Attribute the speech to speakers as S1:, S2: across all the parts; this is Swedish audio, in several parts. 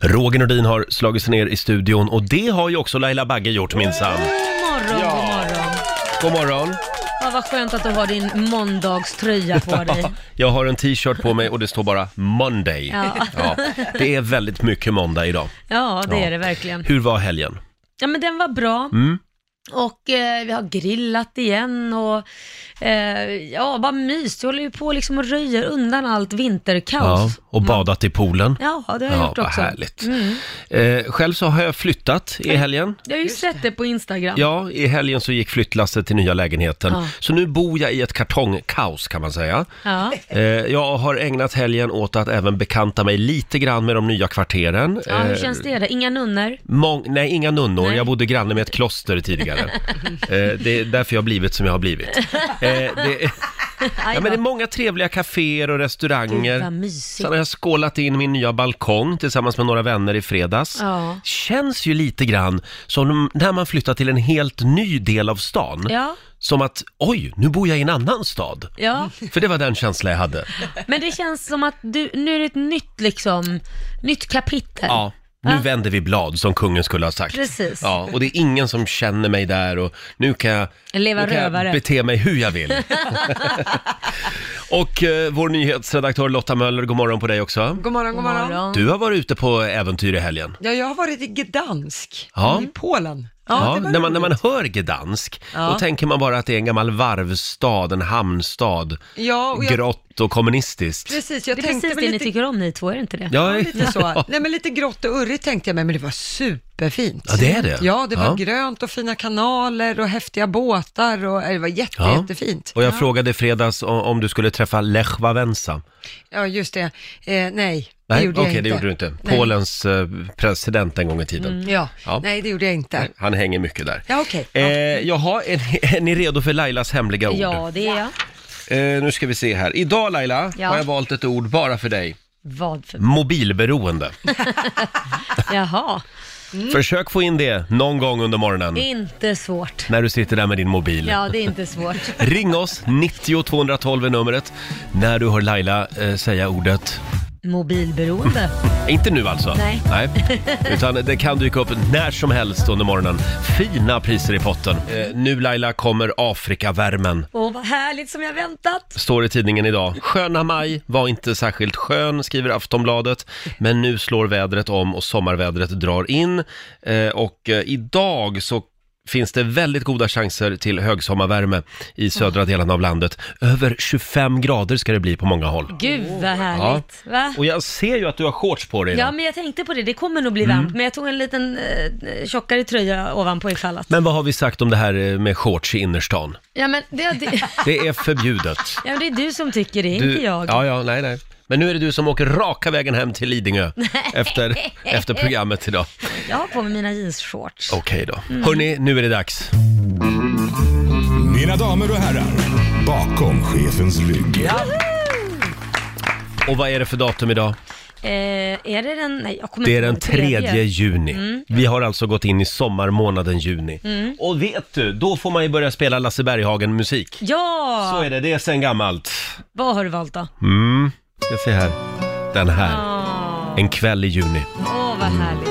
S1: Roger Nordin har slagit sig ner i studion och det har ju också Laila Bagge gjort minsann.
S2: God morgon, god morgon.
S1: God morgon!
S2: Ja, vad skönt att du har din måndagströja på dig.
S1: Jag har en t-shirt på mig och det står bara Monday.
S2: Ja.
S1: Ja, det är väldigt mycket måndag idag.
S2: Ja, det
S1: Ja.
S2: är det verkligen.
S1: Hur var helgen?
S2: Ja, men den var bra.
S1: Mm.
S2: Och eh, vi har grillat igen och eh, ja, bara myst. Vi håller ju på liksom och röjer undan allt
S1: Ja,
S2: vinterkaos.
S1: och badat i poolen.
S2: Ja, det har jag
S1: Ja,
S2: gjort
S1: vad
S2: också.
S1: härligt.
S2: Mm.
S1: Eh, själv så har jag flyttat i helgen.
S2: Jag har ju sett det på Instagram.
S1: Ja, i helgen så gick flyttlasset till nya lägenheten.
S2: Ja.
S1: Så nu bor jag i ett kartongkaos kan man säga.
S2: Ja.
S1: Eh, jag har ägnat helgen åt att även bekanta mig lite grann med de nya kvarteren.
S2: ja, hur
S1: Eh,
S2: känns det? då? Inga nunnor?
S1: Mång, nej, inga nunnor.
S2: Nej.
S1: Jag bodde granne med ett kloster tidigare. eh, det är därför jag har blivit som jag har blivit. Eh, det, är- ja,
S2: Aj
S1: men
S2: då.
S1: det är många trevliga kaféer och
S2: Gud, vad
S1: restauranger.
S2: mysigt.
S1: Sen har jag skålat in min nya balkong tillsammans med några vänner i fredags.
S2: Ja.
S1: Känns ju lite grann som när man flyttar till en helt ny del av stan.
S2: Ja,
S1: Som att, oj, nu bor jag i en annan stad.
S2: ja.
S1: För det var den känslan jag hade.
S2: Men det känns som att du, nu är det ett nytt liksom, nytt kapitel.
S1: Ja, nu vänder vi blad som kungen skulle ha sagt.
S2: Precis.
S1: Ja, och det är ingen som känner mig där och nu kan jag,
S2: Leva
S1: nu kan jag
S2: rövare.
S1: bete mig hur jag vill. och eh, vår nyhetsredaktör Lotta Möller, god morgon på dig också.
S3: God morgon, god
S2: God
S3: morgon.
S2: morgon.
S1: Du har varit ute på äventyr i helgen.
S3: Ja, jag har varit i Gdansk
S1: Ja.
S3: i Polen.
S1: Ja,
S3: Mm. det
S1: när,
S3: var
S1: man, när man
S3: roligt.
S1: hör Gdansk,
S3: Ja.
S1: då tänker man bara att det är en gammal varvstad, en hamnstad,
S3: ja, och jag,
S1: grått och kommunistiskt.
S3: precis, jag
S2: Det är
S3: tänkte
S2: precis det
S3: väl
S2: ni
S3: lite,
S2: tycker om ni två, är det inte det?
S1: Ja,
S3: lite så. Nej, men lite grått och urrigt tänkte jag mig, men det var superfint.
S1: Ja, det är det.
S3: Ja, det var
S1: Ja.
S3: grönt och fina kanaler och häftiga båtar och det var jätte,
S1: Ja.
S3: jättefint.
S1: Och jag frågade i fredags om, om du skulle träffa Lech Wałęsa.
S3: Ja, just det. Eh, nej, det
S1: Nej,
S3: gjorde
S1: okej,
S3: jag inte.
S1: det gjorde du inte.
S3: Nej. Mm.
S1: Polens eh, president en gång i tiden.
S3: Ja.
S1: Ja.
S3: nej det gjorde jag inte.
S1: Han hänger mycket där.
S3: Ja, okej.
S1: Eh, jaha, är, ni- är ni redo för Lailas hemliga ord?
S2: Ja, det är jag.
S1: Eh, nu ska vi se här. Idag Laila,
S2: Ja.
S1: har jag valt ett ord bara för dig.
S2: Vad för...
S1: Mobilberoende.
S2: Jaha, Mm.
S1: Försök få in det någon gång under morgonen.
S2: det är inte svårt.
S1: När du sitter där med din mobil.
S2: Mm. Ja, det är inte svårt.
S1: Ring oss, 90 212 är numret, när du hör Laila eh, säga ordet.
S2: Mobilberoende.
S1: Inte nu alltså.
S2: Nej.
S1: Utan det kan dyka upp när som helst under morgonen. Fina priser i potten. Eh, nu Laila kommer Afrikavärmen.
S2: Åh, vad härligt som jag väntat.
S1: Står i tidningen idag. Sköna maj var inte särskilt skön, skriver Aftonbladet. Men nu slår vädret om och sommarvädret drar in. Eh, och eh, idag så finns det väldigt goda chanser till högsommarvärme i södra delen av landet. Över 25 grader ska det bli på många håll.
S2: Gud, vad härligt. Va?
S1: Och jag ser ju att du har shorts på dig. idag.
S2: Ja, men jag tänkte på det. Det kommer nog bli
S1: Mm.
S2: varmt, men jag tog en liten eh, tjockare tröja ovanpå ifall att...
S1: Men vad har vi sagt om det här eh, med shorts i innerstan?
S2: Ja, men det, det,
S1: Det är förbjudet.
S2: ja, men det är du som tycker det,
S1: Du,
S2: inte jag.
S1: Ja, ja, nej, nej. Men nu är det du som åker raka vägen hem till Lidingö efter, efter programmet idag.
S2: Jag har på mig mina jeansshorts.
S1: Okej då.
S2: Mm.
S1: Hörni, nu är det dags.
S4: Mina damer och herrar, bakom chefens rygg.
S1: Och vad är det för datum idag?
S2: Eh, är det den... Nej, jag kommer
S1: Det är
S2: inte
S1: den
S2: ihåg. Tredje. Mm.
S1: 3 juni. Vi har alltså gått in i sommarmånaden juni. Och vet du, då får man ju börja spela Lasse Berghagen-musik.
S2: Ja!
S1: Så är det, det är sen gammalt.
S2: Vad har du valt då?
S1: Mm, ska se här. Den här.
S2: Åh,
S1: En kväll i juni.
S2: åh, vad härligt.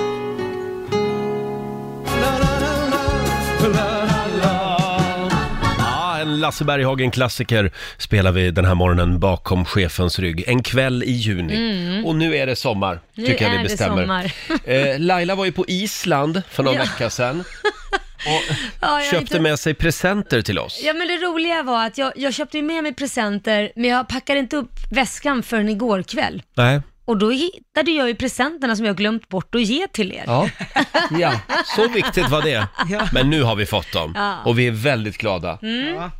S1: Ja, En Lasse Berghagen-klassiker spelar vi den här morgonen bakom chefens rygg. En kväll i juni. Och nu är det sommar,
S2: Mm. Nu
S1: tycker jag
S2: är
S1: vi
S2: det
S1: bestämmer.
S2: sommar.
S1: Eh, Laila var ju på Island för någon vecka sedan och
S2: Ja, jag har
S1: köpte
S2: inte-
S1: med sig presenter till oss.
S2: Ja men det roliga var att jag, jag köpte ju med mig presenter, men jag packade inte upp väskan förrän igår kväll.
S1: Nej.
S2: Och då hittade jag ju presenterna som jag glömt bort att ge till er.
S1: Ja. ja, så viktigt var det. Men nu har vi fått dem
S2: Ja. Mm.
S1: och vi är väldigt glada.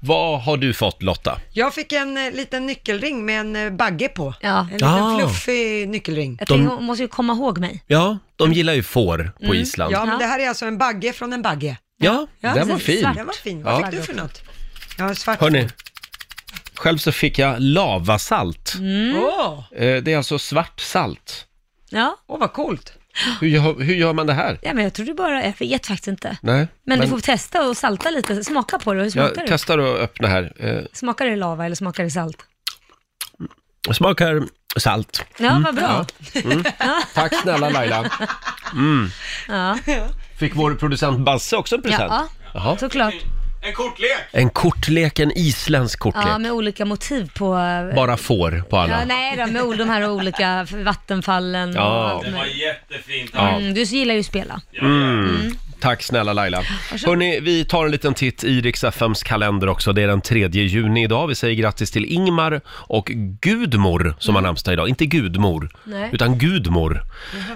S1: Vad har du fått Lotta?
S3: Jag fick en eh, liten nyckelring med en eh, bagge på.
S2: Ja.
S3: En liten
S1: Ah.
S3: fluffig nyckelring.
S2: Jag
S1: De-
S2: tänkte, hon måste ju komma ihåg mig.
S1: Ja, de gillar ju får på Island.
S3: Ja,
S2: Mm. Ja.
S3: men det här är alltså en bagge från en bagge.
S1: Ja,
S3: Ja,
S1: den
S3: så
S1: var fin.
S2: svart.
S3: Den var fin.
S1: Ja.
S3: Vad fick du för något? Jag har en svart.
S1: Hörni, själv så fick jag lavasalt.
S2: Mm.
S3: Åh,
S1: Eh, Det är alltså svart salt.
S2: Ja,
S3: åh, vad coolt.
S1: Hur gör, hur gör man det här?
S2: ja men jag tror du bara, jag vet faktiskt inte.
S1: Nej,
S2: Men, du får testa och salta lite, smaka på det. Hur
S1: jag
S2: smakar det?
S1: testar att öppna här. Eh,
S2: Smakar det lava eller smakar det salt?
S1: Smakar Salt.
S2: Mm. Ja, vad bra.
S1: Tack snälla Laila. Mm.
S2: Ja,
S1: Fick vår producent Basse också en present?
S2: ja,
S1: Jaha.
S2: såklart.
S5: En kortlek!
S1: En kortlek, en isländsk kortlek.
S2: Ja, med olika motiv på... eh,
S1: Bara får på alla.
S2: Ja, nej då, med ol- de här olika vattenfallen och
S1: Ja.
S2: allt
S1: Det
S2: möjligt.
S5: jättefint.
S2: Mm, du gillar ju att spela.
S1: Mm. Tack snälla Laila. Hörni, vi tar en liten titt i Rix FMs kalender också. Det är den 3 juni idag. Vi säger grattis till Ingmar och Gudmor som har namnsdag idag. Inte Gudmor,
S2: Mm. Nej.
S1: utan Gudmor.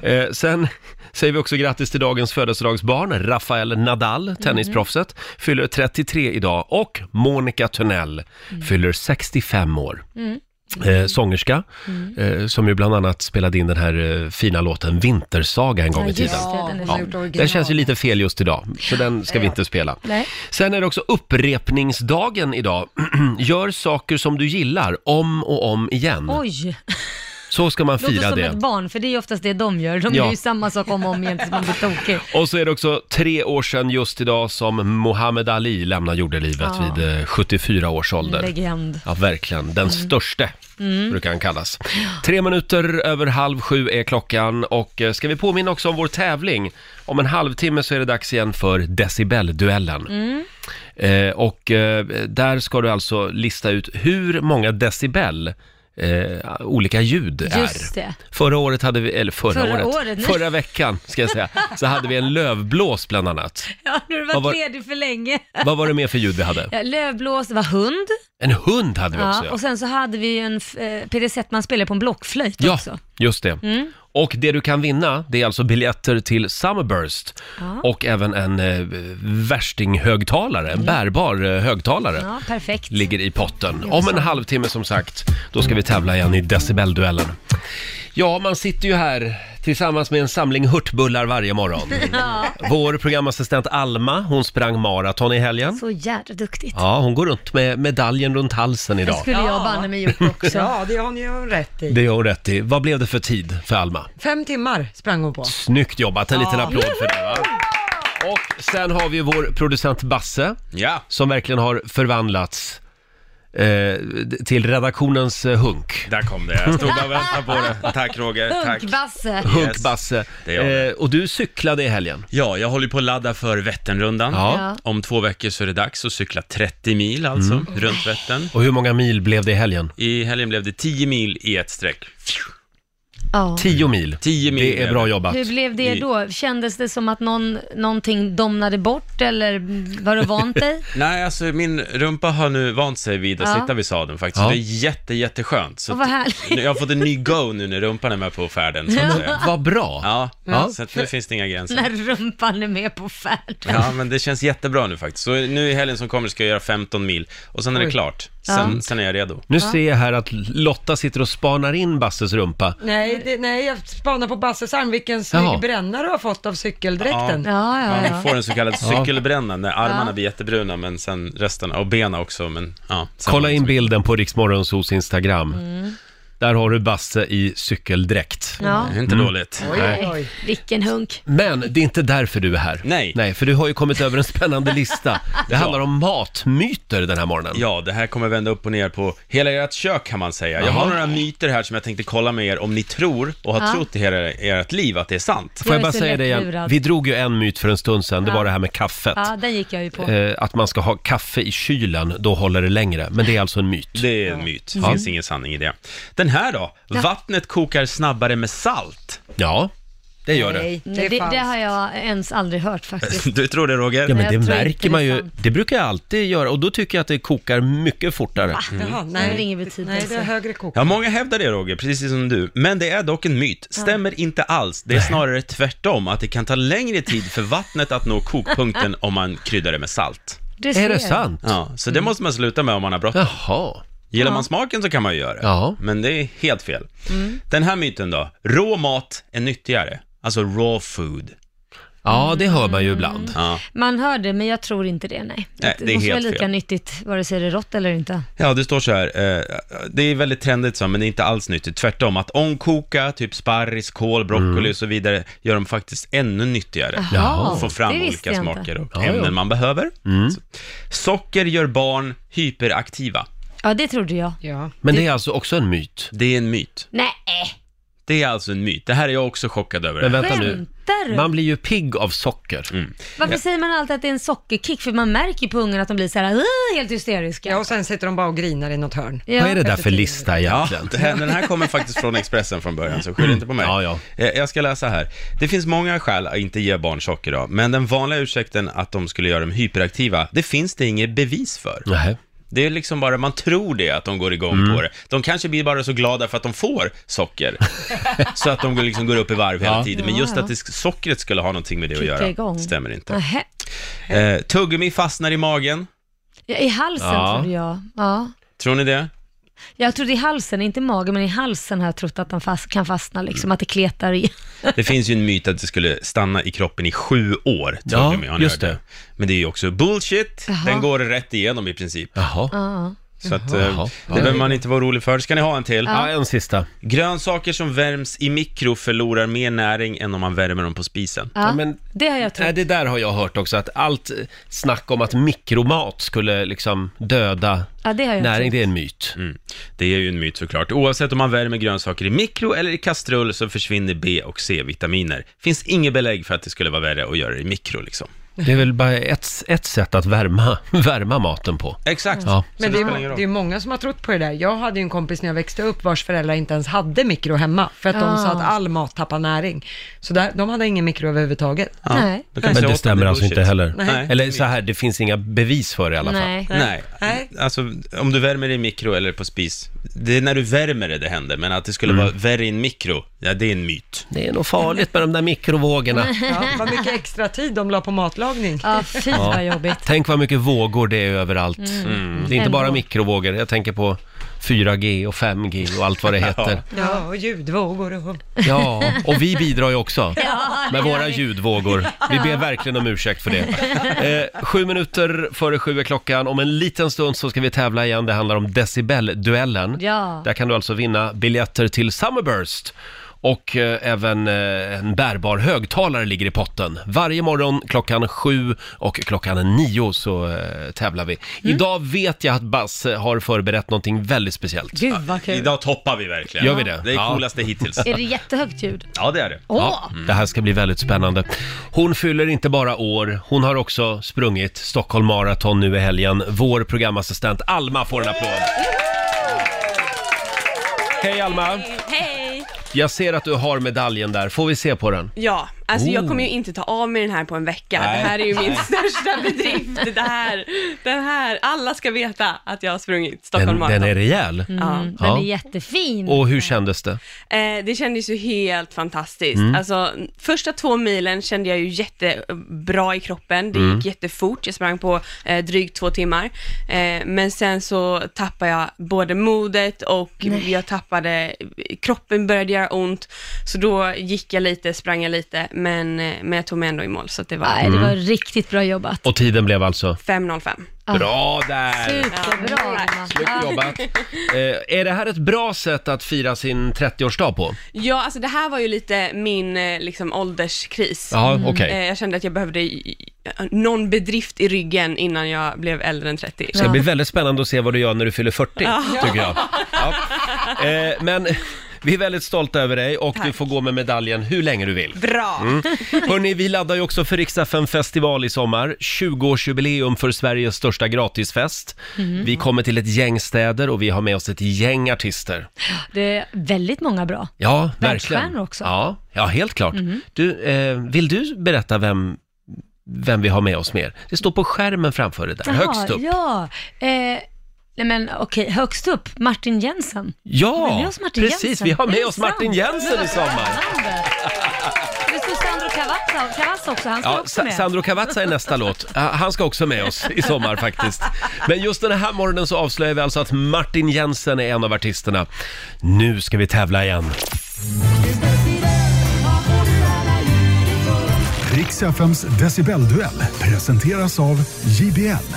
S1: Eh, sen säger vi också grattis till dagens födelsedagsbarn, Rafael
S2: Mhm.
S1: Nadal, tennisproffset, fyller 33 idag och Monica Tunnell
S2: Mm.
S1: fyller 65 år. Eh, sångerska,
S2: Mm.
S1: eh, som ju bland annat spelade in den här eh, fina låten Vintersaga en gång i
S2: just
S1: tiden.
S2: det, den är
S3: hon
S2: så
S3: har
S1: Ja,
S3: gjort original.
S1: den känns ju lite fel just idag, så den ska vi inte spela.
S2: Nej.
S1: Sen är det också upprepningsdagen idag. Gör saker som du gillar om och om igen.
S2: Oj,
S1: Så ska man
S2: låter
S1: fira
S2: som
S1: det.
S2: ett barn, för det är ju oftast det de gör. De
S1: Ja.
S2: gör ju samma sak om och om igen tills man blir tokig.
S1: Och så är det också tre år sedan just idag som Muhammad Ali lämnar jordelivet
S2: Ja.
S1: vid eh, 74 års ålder.
S2: Legend.
S1: Ja, verkligen.
S2: Mm.
S1: Den störste brukar han kallas. Tre minuter över halv sju är klockan och eh, ska vi påminna också om vår tävling. Om en halvtimme så är det dags igen för decibelduellen.
S2: Mm.
S1: Eh, och eh, där ska du alltså lista ut hur många decibel eh, olika ljud
S2: Just
S1: är.
S2: det.
S1: Förra året hade vi, eller förra,
S2: Förra
S1: året,
S2: året, nej.
S1: förra veckan ska jag säga, så hade vi en lövblås bland annat.
S2: Ja, nu har du
S1: Vad
S2: varit
S1: var-
S2: ledig för länge.
S1: Vad var det mer för ljud vi hade?
S2: Ja, Lövblås, det var hund.
S1: En hund hade vi också.
S2: Ja,
S1: ja.
S2: och sen så hade vi ju en f- eh, Peter Settman spelade på en blockflöjt
S1: Ja,
S2: också. Mm.
S1: just det. Och det du kan vinna, det är alltså biljetter till Summerburst
S2: Ja.
S1: och även en eh, värstinghögtalare, en bärbar eh, högtalare.
S2: Ja, perfekt.
S1: ligger i potten. Om en halvtimme som sagt, då ska vi tävla igen i decibelduellen. Ja, man sitter ju här tillsammans med en samling hurtbullar varje morgon. Vår programassistent Alma, hon sprang maraton i helgen.
S2: Så jädra duktigt.
S1: Ja, hon går runt med medaljen runt halsen
S2: Det
S1: idag.
S2: skulle
S3: Ja.
S2: jag banne mig gjort också.
S3: Ja, det har ni ju rätt i.
S1: Det gör hon rätt i. Vad blev det för tid för Alma?
S3: Fem timmar sprang hon på.
S1: Snyggt jobbat, en liten
S3: Ja.
S1: applåd för det va? Och sen har vi ju vår producent Basse,
S5: Ja.
S1: som verkligen har förvandlats eh, till redaktionens eh, hunk.
S5: Där kom det. Jag stod och väntade på det. Tack Roger. Tack.
S2: Hunkbasse.
S1: Hunkbasse.
S5: det gör det.
S1: Eh, och du cyklade i helgen.
S5: Ja, jag håller ju på att ladda för Vätternrundan.
S1: Ja.
S2: Ja.
S5: Om två veckor så är det dags att cykla 30 mil alltså, runt Vättern.
S1: Och hur många mil blev det i helgen?
S5: I helgen blev det 10 mil i ett streck.
S2: Ja.
S1: Tio mil.
S5: 10 mil
S1: Det är bra jobbat.
S2: Hur blev det
S5: I-
S2: då? Kändes det som att någon, någonting domnade bort eller var du vant dig?
S5: Nej, alltså min rumpa har nu vant sig vid att
S2: Ja.
S5: sitta vid sadeln faktiskt.
S1: Ja.
S5: Så det är jätte, jätteskönt. Så
S2: Och vad
S5: att-
S2: härligt.
S5: nu- jag har fått en ny go nu när rumpan är med på färden, så att säga.
S1: Vad bra.
S5: Ja,
S1: Ja.
S5: så att nu finns det inga gränser.
S2: När rumpan är med på färd.
S5: Ja, men det känns jättebra nu faktiskt. Så nu i helgen som kommer ska jag göra 15 mil och sen är det
S3: Oj.
S5: klart. Sen, sen är jag redo.
S1: Nu ser jag här att Lotta sitter och spanar in Basses rumpa.
S3: Nej, det, nej, jag spanar på Basses arm. Vilken
S1: Jaha.
S3: snygg bränna du har fått av cykeldräkten.
S2: Ja, ja,
S5: Man
S2: ja.
S5: får en så kallad cykelbränna när armarna blir jättebruna, men sen resten, och benen också, men ja. sen-
S1: Kolla in bilden på Riksmorgonsos Instagram. Där har du Basse i cykeldräkt.
S2: ja.
S5: Det är
S1: Mm.
S5: inte dåligt.
S3: Oj, oj, oj.
S2: Vilken hunk.
S1: Men det är inte därför du är här.
S5: Nej.
S1: Nej, för du har ju kommit över en spännande lista. Det handlar om matmyter den här morgonen.
S5: Ja, det här kommer vända upp och ner på hela ert kök kan man säga. Jag har
S1: Jaha.
S5: några myter här som jag tänkte kolla med er om ni tror och har
S2: Ja.
S5: trott i hela ert liv att det är sant.
S1: Får
S2: Jag
S1: jag
S2: är
S1: bara
S2: så
S1: säga det igen?
S2: lättlurad.
S1: Vi drog ju en myt för en stund sedan. Det
S2: Ja.
S1: var det här med kaffet.
S2: Ja, den gick jag ju på.
S1: Eh, att man ska ha kaffe i kylen, då håller det längre. Men det är alltså en myt.
S5: Det är en myt, det finns ingen sanning i det. Den här då? Vattnet kokar snabbare med salt.
S1: Ja, det gör det.
S3: Nej, det
S2: Nej, det,
S3: är
S2: det har
S3: falskt.
S2: jag ens aldrig hört faktiskt.
S5: Du tror det Roger?
S1: Ja, men
S2: Nej,
S1: det
S2: jag tror
S1: märker
S2: inte
S1: man
S2: det är
S1: ju.
S2: sant.
S1: Det brukar jag alltid göra och då tycker jag att det kokar mycket
S2: Ah,
S1: fortare.
S3: Jaha,
S2: Det har
S3: nej.
S2: ingen betydelse.
S3: nej, det är högre kok.
S5: Ja, många hävdar det Roger, precis som du. Men det är dock en myt. Stämmer inte alls. Det är snarare tvärtom, att det kan ta längre tid för vattnet att nå kokpunkten om man kryddar det med salt.
S2: Du
S1: Är
S2: ser.
S1: det sant?
S5: Ja, så det måste man sluta med om man har bråttom.
S1: Jaha.
S5: Gillar man smaken så kan man ju göra det.
S1: Ja.
S5: Men det är helt fel. Den här myten då, rå mat är nyttigare. Alltså raw food.
S1: Ja, det hör man ju ibland.
S5: Ja,
S2: Man hör det, men jag tror inte det, nej.
S5: Nej, det är
S2: måste vara
S5: helt
S2: lika
S5: fel.
S2: nyttigt, vare sig det är rått eller inte.
S5: ja det står så här, eh, det är väldigt trendigt så, men det är inte alls nyttigt. Tvärtom, att ångkoka typ sparris, kål, broccoli
S1: Mm.
S5: och så vidare gör dem faktiskt ännu nyttigare.
S1: Jaha,
S5: Få fram
S2: det visste
S5: olika
S2: jag inte.
S5: smaker och
S1: Ja, Mm. ja.
S5: ämnen man behöver. Så. Socker gör barn hyperaktiva.
S2: Ja, det trodde jag.
S3: Ja.
S1: Men det är alltså också en myt.
S5: Det är en myt.
S2: Nej,
S5: Det är alltså en myt. Det här är jag också chockad över.
S1: Men vänta nu.
S2: skämtar du?
S1: Man blir ju pigg av socker.
S5: Mm.
S2: Varför säger man alltid att det är en sockerkick? För man märker ju på ungarna att de blir så här "Åh", helt hysteriska.
S3: ja, och sen sitter de bara och grinar i något hörn.
S2: Ja.
S1: Vad är det där för lista
S5: Ja,
S1: egentligen?
S5: det här, den här kommer faktiskt från Expressen från början, så skyll inte på mig.
S1: Mm. Ja, ja.
S5: Eh, Jag ska läsa här. Det finns många skäl att inte ge barn socker då, men den vanliga ursäkten att de skulle göra dem hyperaktiva, det finns det inget bevis för.
S1: Nej.
S5: Det är liksom bara, man tror det att de går igång
S1: Mm.
S5: på det. De kanske blir bara så glada för att de får socker, så att de går- liksom går upp i varv hela
S1: Ja.
S5: tiden. Men just
S2: Ja,
S5: att det, sockret skulle ha någonting med det att
S2: Kicka
S5: göra,
S2: igång.
S5: stämmer inte.
S2: Nähä.
S5: Eh, tuggummi fastnar i magen,
S2: Ja, I halsen
S1: Ja.
S2: trodde jag. Ja.
S5: tror ni det?
S2: Jag trodde i halsen, inte i magen, men i halsen har jag trott att den fast, kan fastna liksom, att det kletar i.
S5: Det finns ju en myt att det skulle stanna i kroppen i sju år.
S1: Ja,
S5: tuggummi, har ni
S1: just
S5: hört
S1: det.
S5: Men det är ju också bullshit.
S2: Jaha.
S5: Den går rätt igenom i princip.
S1: Jaha.
S2: Ja.
S5: Så att,
S1: Jaha.
S5: eh,
S1: Jaha.
S5: det behöver man inte vara orolig för. Ska ni ha en till?
S1: Ja, en sista.
S5: Grönsaker som värms i mikro förlorar mer näring än om man värmer dem på spisen.
S2: Ja,
S1: Ja, men-
S2: det har jag trott.
S1: Nej, det där har jag hört också, att allt snack om att mikromat skulle liksom döda
S2: Ja, det har jag
S1: näring,
S2: trott.
S1: det är en myt.
S5: Mm. Det är ju en myt såklart. Oavsett om man värmer grönsaker i mikro eller i kastrull så försvinner B och C-vitaminer. Finns inget belägg för att det skulle vara värre att göra det i mikro liksom.
S1: Det är väl bara ett, ett sätt att värma, värma maten på.
S5: Exakt.
S1: Ja.
S5: Så
S3: Men det är,
S5: spelar
S3: må-
S5: ingen roll.
S3: det är många som har trott på det där. Jag hade ju en kompis när jag växte upp vars föräldrar inte ens hade mikro hemma. För att
S2: Ah.
S3: de sa att all mat tappar näring. Så där, de hade ingen mikro överhuvudtaget.
S5: Ja,
S2: Nej.
S5: då kan jag
S1: Men
S5: säga
S1: det
S5: åt
S1: stämmer
S5: är
S1: alltså inte
S5: bullshit.
S1: heller.
S5: Nej.
S1: Eller så här, det finns inga bevis för det i alla fall.
S2: Nej.
S5: Nej.
S3: Nej.
S5: alltså om du värmer i mikro eller på spis, det är när du värmer det det händer, men att det skulle
S1: Mm.
S5: vara värre i en mikro, ja det är en myt.
S1: Det är nog farligt med de där mikrovågorna.
S3: Ja, vad mycket extra tid de la på matlagning.
S2: Ja, fy vad jobbigt.
S1: Tänk vad mycket vågor det är överallt.
S5: Mm.
S1: Det är inte
S2: Mm. Ändå.
S1: bara mikrovågor, jag tänker på 4G och 5G och allt vad det heter.
S3: Ja, och ljudvågor och...
S1: Ja, och vi bidrar ju också med
S2: det
S1: våra
S2: gör vi.
S1: ljudvågor. Vi ber verkligen om ursäkt för det. Eh, sju minuter före sju är klockan. Om en liten stund så ska vi tävla igen. Det handlar om decibelduellen.
S2: Ja.
S1: Där kan du alltså vinna biljetter till Summerburst. Och eh, även eh, en bärbar högtalare ligger i potten. Varje morgon klockan sju och klockan nio så eh, tävlar vi.
S2: Mm.
S1: Idag vet jag att Basse har förberett någonting väldigt speciellt.
S2: Gud vad kul.
S5: Idag toppar vi verkligen.
S1: Gör vi det?
S5: Det är
S1: Ja.
S5: coolaste hittills.
S2: Är det jättehögt ljud?
S5: Ja, det är det.
S2: Åh!
S1: Ja, det här ska bli väldigt spännande. Hon fyller inte bara år, hon har också sprungit Stockholm Marathon nu i helgen. Vår programassistent Alma får en applåd. Hej Alma!
S6: Hej!
S1: Jag ser att du har medaljen där, får vi se på den?
S6: Ja, alltså
S1: Oh.
S6: jag kommer ju inte ta av mig den här på en vecka.
S5: Nej.
S6: Det här är ju min största bedrift. Det här, den här, alla ska veta att jag har sprungit
S1: Den,
S6: Stockholm Marathon.
S1: den är rejäl.
S7: Mm.
S6: ja.
S2: Den
S1: Ja.
S2: är jättefin.
S1: Och hur kändes det?
S6: Eh, det kändes ju helt fantastiskt.
S1: Mm.
S6: Alltså, första två milen kände jag ju jättebra i kroppen. Det
S1: Mm.
S6: gick jättefort. Jag sprang på eh, drygt två timmar. Eh, men sen så tappade jag både modet och jag tappade, kroppen började göra ont. Så då gick jag lite, sprang jag lite, men, eh, men jag tog mig ändå i mål. Så att det var
S2: Nej, det var
S1: Mm.
S2: riktigt bra jobbat.
S1: Och tiden blev alltså?
S6: 5.05.
S1: Bra där!
S2: Superbra Alma.
S1: Snyggt jobbat! Eh, är det här ett bra sätt att fira sin 30-årsdag på?
S6: Ja, alltså det här var ju lite min eh, liksom, ålderskris.
S1: Ja, okej.
S6: Eh, Jag kände att jag behövde i- i- någon bedrift i ryggen innan jag blev äldre än 30.
S1: Det ska bli väldigt spännande att se vad du gör när du fyller 40, tycker jag. Ja. Eh, men vi är väldigt stolta över dig och du får gå med medaljen hur länge du vill.
S6: Bra!
S1: Hörni, vi laddar ju också för Rix FM festival i sommar. 20-årsjubileum för Sveriges största gratisfest.
S2: Mhm.
S1: Vi kommer till ett gäng städer och vi har med oss ett gäng artister.
S2: Det är väldigt många bra.
S1: Ja, verkligen.
S2: Världsstjärnor också. Mhm.
S1: Ja, ja helt klart. Du, eh, vill du berätta vem, vem vi har med oss mer? Det står på skärmen framför dig där,
S2: Jaha,
S1: högst upp.
S2: Ja, eh, nej men okej, högst upp, Martin Jensen. Har vi
S1: Ja,
S2: med oss Martin
S1: precis.
S2: Jensen?
S1: Vi har
S2: Är
S1: med
S2: det
S1: oss
S2: sant?
S1: Martin Jensen i sommar.
S2: Spännande. Det står Sandro Cavazza, Cavazza också, han ska
S1: Ja,
S2: också
S1: Sa-
S2: med.
S1: Sandro Cavazza är nästa låt. Ah, Han ska också med oss i sommar faktiskt. Men just den här morgonen så avslöjar vi alltså att Martin Jensen är en av artisterna. Nu ska vi tävla igen.
S4: Riks-FMs decibelduell presenteras av JBL.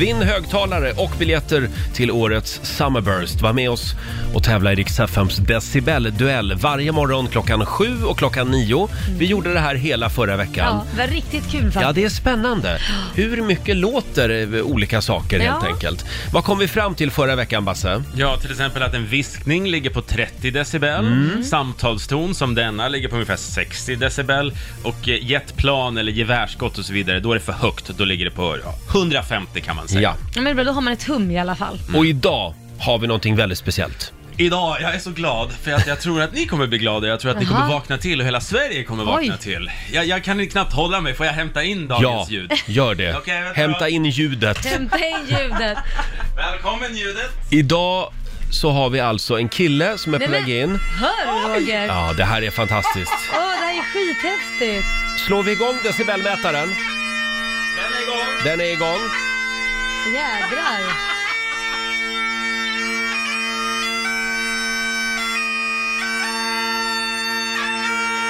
S1: Vinn högtalare och biljetter till årets Summerburst. Var med oss och tävla i Rix FMs decibel-duell varje morgon klockan sju och klockan nio. Vi gjorde det här hela förra veckan.
S2: Ja, det var riktigt kul
S1: Ja,
S2: faktiskt.
S1: det är spännande. Hur mycket låter eh, olika saker helt
S2: Ja.
S1: enkelt? Vad kom vi fram till förra veckan, Basse?
S5: Ja, till exempel att en viskning ligger på 30 decibel, samtalston som denna ligger på ungefär 60 decibel och eh, jetplan eller gevärsskott och så vidare, då är det för högt, då ligger det på ja, 150 kan man säga.
S1: Ja.
S2: Ja, men det är bra, då har man ett hum i alla fall.
S5: Mm.
S1: Och idag har vi någonting väldigt speciellt.
S5: Idag, jag är så glad för att jag tror att ni kommer bli glada, jag tror att ni
S2: Jaha.
S5: kommer vakna till och hela Sverige kommer
S2: Oj.
S5: vakna till. Jag, jag kan ju knappt hålla mig, får jag hämta in
S1: Ja,
S5: dagens ljud?
S1: gör det.
S5: Okej, vänta då.
S1: Hämta in ljudet.
S2: Hämta in ljudet.
S5: Välkommen ljudet!
S1: Idag så har vi alltså en kille som är på
S2: Nej, men-
S1: väg in.
S2: Hör Roger!
S1: Ja, det här är fantastiskt.
S2: Åh, det här är skithäftigt!
S1: Slår vi igång decibelmätaren?
S5: Den är igång!
S1: Den är igång.
S2: Jädrar! Det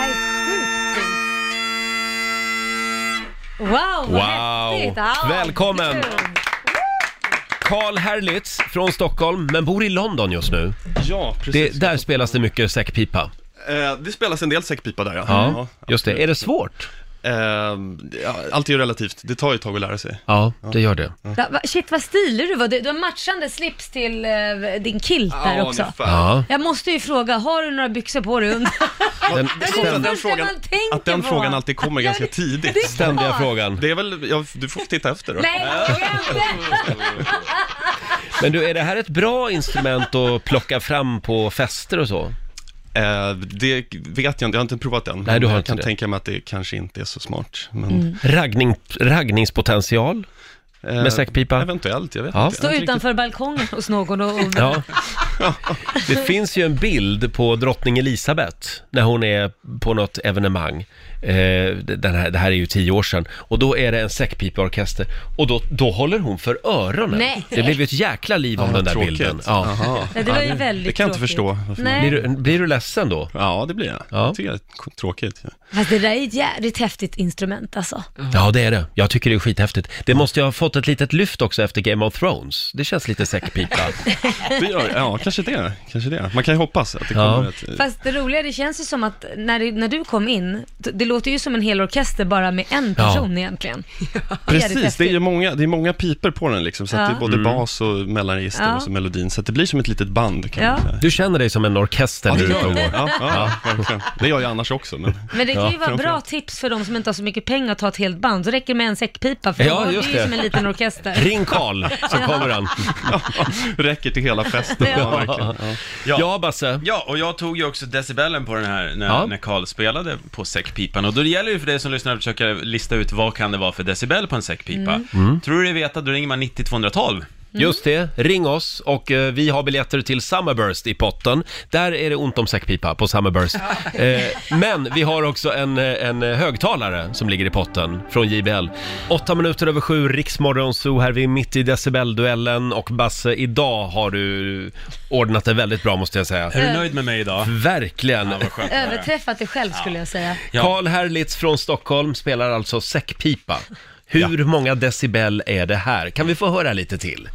S2: här är sjukt fint. Wow, vad
S1: Wow.
S2: häftigt! Ja,
S1: Välkommen.
S2: kul.
S1: Karl Herlitz från Stockholm, men bor i London just nu.
S8: Ja, precis.
S1: Det, där spelas det mycket säckpipa.
S8: Eh, det spelas en del säckpipa där, ja.
S1: Ja, just det. Är det svårt?
S8: Ehm, ja, allt är ju relativt. Det tar ju ett tag att lära sig.
S1: Ja, det gör det.
S2: Ja, va- Shit vad stilig du var, du du har matchande slips till eh, din kilt där också.
S8: ungefär.
S1: Ja.
S2: Jag måste ju fråga, har du några byxor på dig under?
S1: Den
S8: Det är
S2: Det är
S8: konstigt att
S2: det
S8: den
S2: första
S8: frågan,
S2: man tänker
S8: att den
S2: på.
S8: frågan alltid kommer ganska
S2: Det
S8: tidigt.
S2: är
S1: ständiga
S2: klart.
S1: frågan.
S8: Det är väl, ja, du får titta efter då.
S2: Nej, jag vet inte.
S1: Men du, är det här ett bra instrument att plocka fram på fester och så?
S8: Eh, det vet jag inte, jag har inte provat än.
S1: Nej, du har
S8: jag
S1: inte
S8: kan
S1: det.
S8: tänka mig att det kanske inte är så smart. Men,
S2: Mm.
S1: Raggning, raggningspotential?
S8: eh,
S1: Med säckpipa?
S8: Eventuellt, jag vet
S1: Ja.
S8: inte.
S2: Stå
S8: Jag har inte
S2: utanför balkongen hos någon och och-
S1: Ja. Det finns ju en bild på drottning Elisabeth när hon är på något evenemang. Eh, den här, det här är ju tio år sedan. Och då är det en säckpipeorkester och då, då håller hon för öronen.
S2: Nej.
S1: Det blev ju ett jäkla liv om
S8: Ja,
S1: den där
S8: tråkigt.
S1: bilden. Ja.
S8: riktigt- Jaha.
S2: Nej, det var ju väldigt
S8: Det kan jag inte
S2: tråkigt.
S8: förstå. varför man-
S2: Nej,
S1: Blir, du, blir du ledsen då?
S8: Ja, det blir jag.
S1: Ja.
S8: Jag tycker det är tråkigt.
S2: fast det där är ett jävligt häftigt instrument alltså.
S8: Mm.
S1: Ja, det är det. Jag tycker det är skithäftigt. Det måste ju ha fått ett litet lyft också efter Game of Thrones. Det känns lite säckpipa.
S8: Det gör, ja, kanske det. Kanske det. Man kan ju hoppas att det
S1: Ja.
S8: kommer ett...
S2: Fast det roliga, det känns ju som att när, det, när du kom in, det- det låter ju som en hel orkester bara med en
S1: Ja.
S2: person egentligen.
S8: Precis, det är ju
S2: häftigt.
S8: många, det är många piper på den liksom, så att
S2: Ja.
S8: det är både bas och mellanregister
S2: Ja.
S8: och så melodin, så att det blir som ett litet band kan man
S2: Ja.
S8: säga.
S1: Du känner dig som en orkester när du är ute och går.
S8: Ja, ja, verkligen. Det gör jag annars också, men
S2: Men det kan ju vara bra
S8: framförallt.
S2: tips för de som inte har så mycket pengar att ta ett helt band. Då räcker det med en säckpipa, för
S1: Ja,
S2: då är det
S1: just
S2: ju
S1: det.
S2: som en liten orkester.
S1: Ring Karl, så kommer han.
S8: ja, räcker till hela festen. Ja, verkligen. Ja.
S1: Ja, Basse.
S5: Ja, och jag tog ju också decibelen på den här när,
S1: Ja.
S5: när Carl spelade på säckpipan. Och då gäller det ju för dig som lyssnar att försöka lista ut vad kan det vara för decibel på en säckpipa. Tror du det vet att då ringer man 90 212.
S1: Just det, ring oss och eh, vi har biljetter till Summerburst i potten. Där är det ont om säckpipa på Summerburst. Eh, men vi har också en, eh, en högtalare som ligger i potten från JBL. Åtta minuter över sju, Riksmorgon Zoo här, vi är mitt i decibelduellen och Basse, idag har du ordnat det väldigt bra måste jag säga.
S5: Är du nöjd med mig idag?
S1: Verkligen.
S5: Ja, vad skönt.
S2: Överträffat dig själv skulle jag säga.
S5: Ja.
S1: Karl Herlitz från Stockholm spelar alltså säckpipa. Hur många decibel är det här? Kan vi få höra lite till?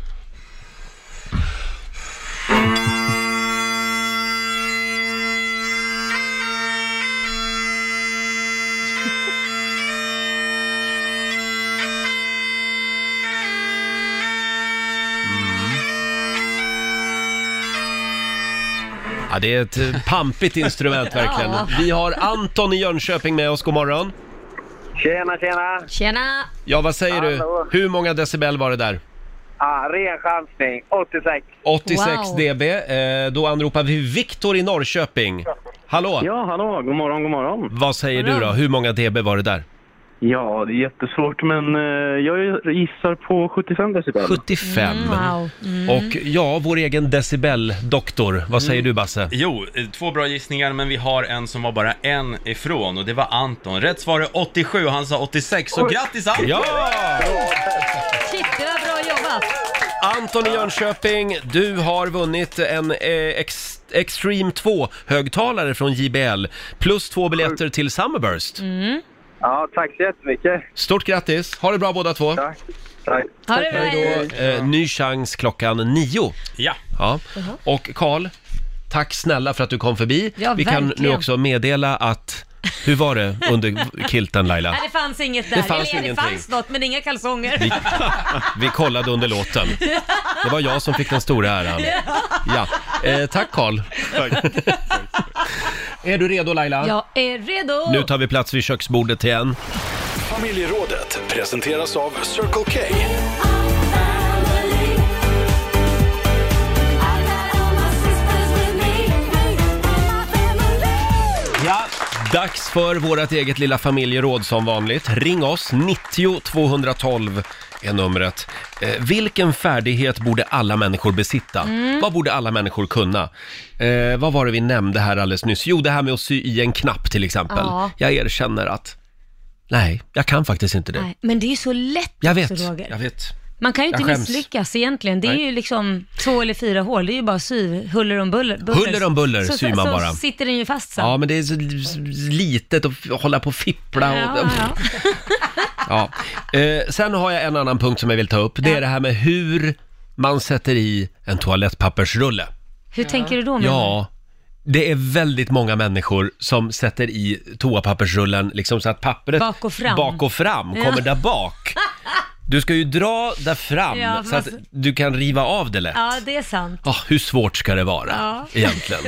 S1: Ja, det är ett eh, pampigt instrument verkligen.
S2: Ja.
S1: Vi har Anton i Jönköping med oss, god morgon.
S9: Tjena, tjena!
S2: Tjena!
S1: Ja, vad säger
S9: Hallå.
S1: du? Hur många decibel var det där?
S9: Ah, ren chansning, 86.
S1: 86
S2: Wow.
S1: dB. Eh, då anropar vi Viktor i Norrköping. Hallå!
S9: Ja, hallå, god morgon, god morgon.
S1: Vad säger du då?
S2: Hallå.
S1: Hur många dB var det där?
S9: Ja, det är jättesvårt, men eh, jag gissar på 75 decibel.
S1: 75.
S2: Wow. Mm.
S1: Och ja, vår egen decibeldoktor. Vad
S2: Mm.
S1: säger du Basse?
S5: Jo, eh, två bra gissningar, men vi har en som var bara en ifrån och det var Anton. Rätt svar är 87 och han sa 86, så grattis Anton!
S1: Ja!
S2: Shit, det var bra jobbat!
S1: Anton i Jönköping, du har vunnit en eh, ex Extreme 2-högtalare från JBL plus två biljetter till Summerburst.
S9: Ja, tack så jättemycket.
S1: Stort grattis! Ha det bra båda två!
S9: Tack. Tack.
S2: Ha det bra, hej.
S1: Eh, ny chans klockan nio.
S5: Ja.
S1: Ja. Och Karl, tack snälla för att du kom förbi.
S2: Ja,
S1: Vi kan nu
S2: verkligen.
S1: också meddela att, hur var det under kilten Laila?
S2: Nej, det fanns inget där.
S1: Det fanns
S2: Eller, det
S1: ingenting.
S2: fanns något, men inga kalsonger.
S1: Vi kollade under låten. Det var jag som fick den stora äran. Ja. Eh, tack Karl.
S8: Tack.
S1: Är du redo Laila?
S2: Jag är redo!
S1: Nu tar vi plats vid köksbordet igen.
S4: Familjerådet presenteras av Circle K.
S5: Ja.
S1: Dags för vårt eget lilla familjeråd som vanligt. Ring oss, 90 212 är numret. Eh, vilken färdighet borde alla människor besitta?
S2: Mm.
S1: Vad borde alla människor kunna? Eh, vad var det vi nämnde här alldeles nyss? Jo, det här med att sy i en knapp till exempel.
S2: Ja.
S1: Jag erkänner att, nej, jag kan faktiskt inte det.
S2: Nej, men det är ju så lätt
S1: Jag vet,
S2: också, Roger.
S1: jag vet.
S2: Man kan ju inte
S1: Jag skäms.
S2: misslyckas egentligen. Det är
S1: Nej.
S2: ju liksom två eller fyra hål. Det är ju bara sy, huller om buller. buller.
S1: Huller om buller
S2: så,
S1: syr man
S2: så,
S1: bara.
S2: Så sitter den ju fast sen.
S1: Ja, men det är så litet att hålla på och fippla. Och...
S2: Ja, ja.
S1: Ja. Eh, sen har jag en annan punkt som jag vill ta upp. Det är det här med hur man sätter i en toalettpappersrulle.
S2: Hur tänker du då? menar du?
S1: Ja, det är väldigt många människor som sätter i toapappersrullen liksom så att pappret
S2: Bak och fram.
S1: bak och fram
S2: Ja.
S1: kommer där bak. Du ska ju dra där fram
S2: Ja,
S1: så att
S2: fast-
S1: du kan riva av det lätt.
S2: ja, det är sant.
S1: Ah, hur svårt ska det vara
S2: Ja.
S1: egentligen?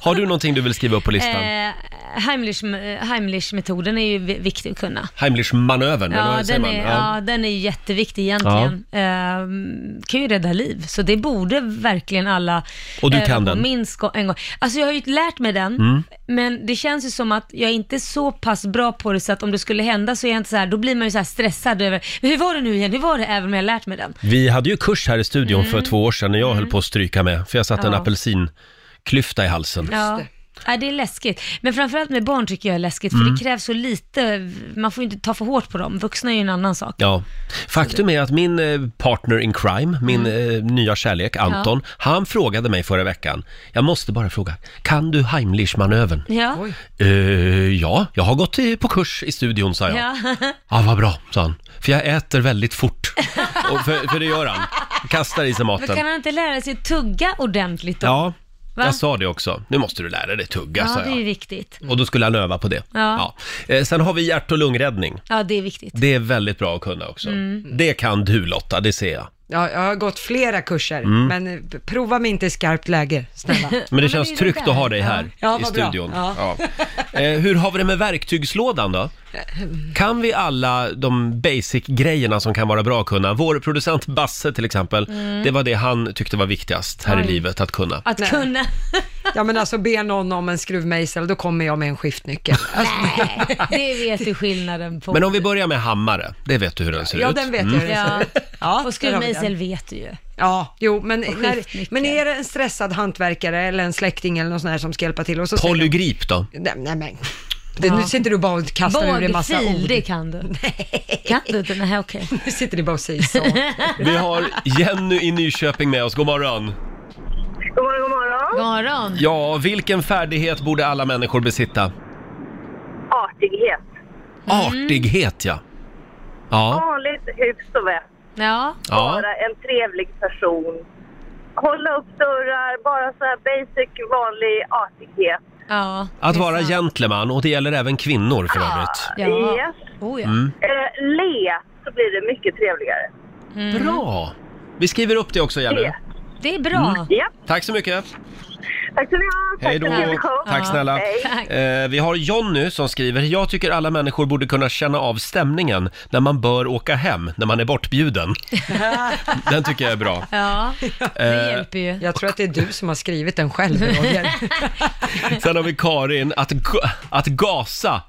S1: Har du någonting du vill skriva upp på listan?
S2: Eh, Heimlich- Heimlich-metoden är ju vi- viktig att kunna.
S1: Heimlich-manövern, eller
S2: Ja
S1: vad säger
S2: den,
S1: man?
S2: är, ja, den är ju jätteviktig egentligen. Ehm, kan ju rädda liv, så det borde verkligen alla
S1: Och du
S2: öva
S1: kan
S2: på
S1: den? Mm.
S2: minst gå- en gång. Alltså jag har ju lärt mig den, men det känns ju som att jag är inte så pass bra på det så att om det skulle hända så är jag inte så här, då blir man ju så här stressad över, men hur var det nu igen, hur var det, även om jag har lärt mig den.
S1: Vi hade ju kurs här i studion för två år sedan när jag höll på att stryka med, för jag satte en
S2: Mm. Ja.
S1: apelsinklyfta i halsen.
S2: Ja. Nej, det är läskigt. Men framförallt med barn tycker jag är läskigt, för
S1: Mm.
S2: det krävs så lite, man får ju inte ta för hårt på dem. Vuxna är ju en annan sak.
S1: Ja. Faktum är att min eh, partner in crime, min
S2: Mm.
S1: eh, nya kärlek Anton, han frågade mig förra veckan, jag måste bara fråga, kan du Heimlich-manövern?
S2: Ja.
S1: Eh, ja, jag har gått i, på kurs i studion, sa jag. Ja,
S2: Ja.
S1: ah, vad bra, sa han. För jag äter väldigt fort. Och för, för det gör han. Kastar i sig
S2: Men
S1: maten.
S2: kan han inte lära sig tugga ordentligt då?
S1: Ja,
S2: Va?
S1: jag sa det också. Nu måste du lära dig tugga,
S2: Ja,
S1: sa
S2: det är ju
S1: jag.
S2: viktigt.
S1: Och då skulle han öva på det.
S2: Ja.
S1: Ja. Eh, Sen har vi hjärt och lungräddning.
S2: Ja, det är viktigt.
S1: Det är väldigt bra att kunna också.
S3: Mm.
S1: Det kan du Lotta, det ser jag.
S3: Ja, jag har gått flera kurser,
S5: Mm.
S3: men eh, prova mig inte i skarpt läge, snälla.
S1: Men det
S2: men
S1: känns
S2: det är det
S1: tryggt
S2: där.
S1: att ha dig här
S3: Ja, vad
S1: i
S3: bra.
S1: studion.
S3: Ja.
S1: Ja. Eh, Hur har vi det med verktygslådan då? Kan vi alla de basic-grejerna som kan vara bra att kunna? Vår producent Basse till exempel,
S3: Mm.
S1: det var det han tyckte var viktigast här i livet att kunna.
S2: Att
S3: Nej.
S2: kunna...
S3: Ja, men alltså ber någon om en skruvmejsel, då kommer jag med en skiftnyckel. Alltså,
S2: Nej, det vet du skillnaden på.
S1: Men om vi börjar med hammare, det vet du hur den ser
S3: ja,
S1: ut.
S3: den vet jag hur den
S2: Mm. Ja.
S3: ser ut. Ja,
S2: Och
S3: där har vi den.
S2: skruvmejsel vet du ju.
S3: Ja, jo, men, när,
S2: skiftnyckel.
S3: men är det en stressad hantverkare eller en släkting eller någon sån här som ska hjälpa till och så säger de-
S1: Polygrip då?
S3: Nej, nej men. Det, Nu sitter du bara och kastar ur dig massa
S2: Bågfil,
S3: ord.
S2: det kan du. Kan du inte? Nej, okej.
S3: Nu sitter du bara och säger så.
S1: Vi har Jenny i Nyköping med oss, god morgon.
S7: God morgon, god morgon.
S2: God morgon.
S1: Ja, vilken färdighet borde alla människor besitta?
S7: Artighet.
S1: Artighet ja. Ja,
S7: Vanligt hyfs och vett.
S2: Ja.
S1: ja.
S7: Vara en trevlig person. Hålla upp dörrar. Bara så här basic, vanlig artighet.
S2: ja.
S1: Att
S2: det är
S1: vara
S2: sant.
S1: gentleman, och det gäller även kvinnor för övrigt.
S2: Ja.
S7: Yes.
S2: Oh, ja.
S1: Mm.
S7: Eh, le, så blir det mycket trevligare.
S1: Bra! Vi skriver upp det också, Jenny.
S7: Le.
S2: Det är bra.
S1: Mm.
S7: Ja,
S1: Tack så mycket.
S7: tack så ni ha.
S1: Hej då.
S7: Tack för en trevlig show.
S1: Tack snälla.
S7: Hej.
S2: Tack.
S1: Eh, vi har Jonny som skriver, jag tycker alla människor borde kunna känna av stämningen när man bör åka hem, när man är bortbjuden. Den tycker jag är bra.
S2: Ja,
S1: Eh,
S2: det hjälper ju.
S3: Jag tror att det är du som har skrivit den själv, Roger.
S1: Sen har vi Karin, att, ga- att gasa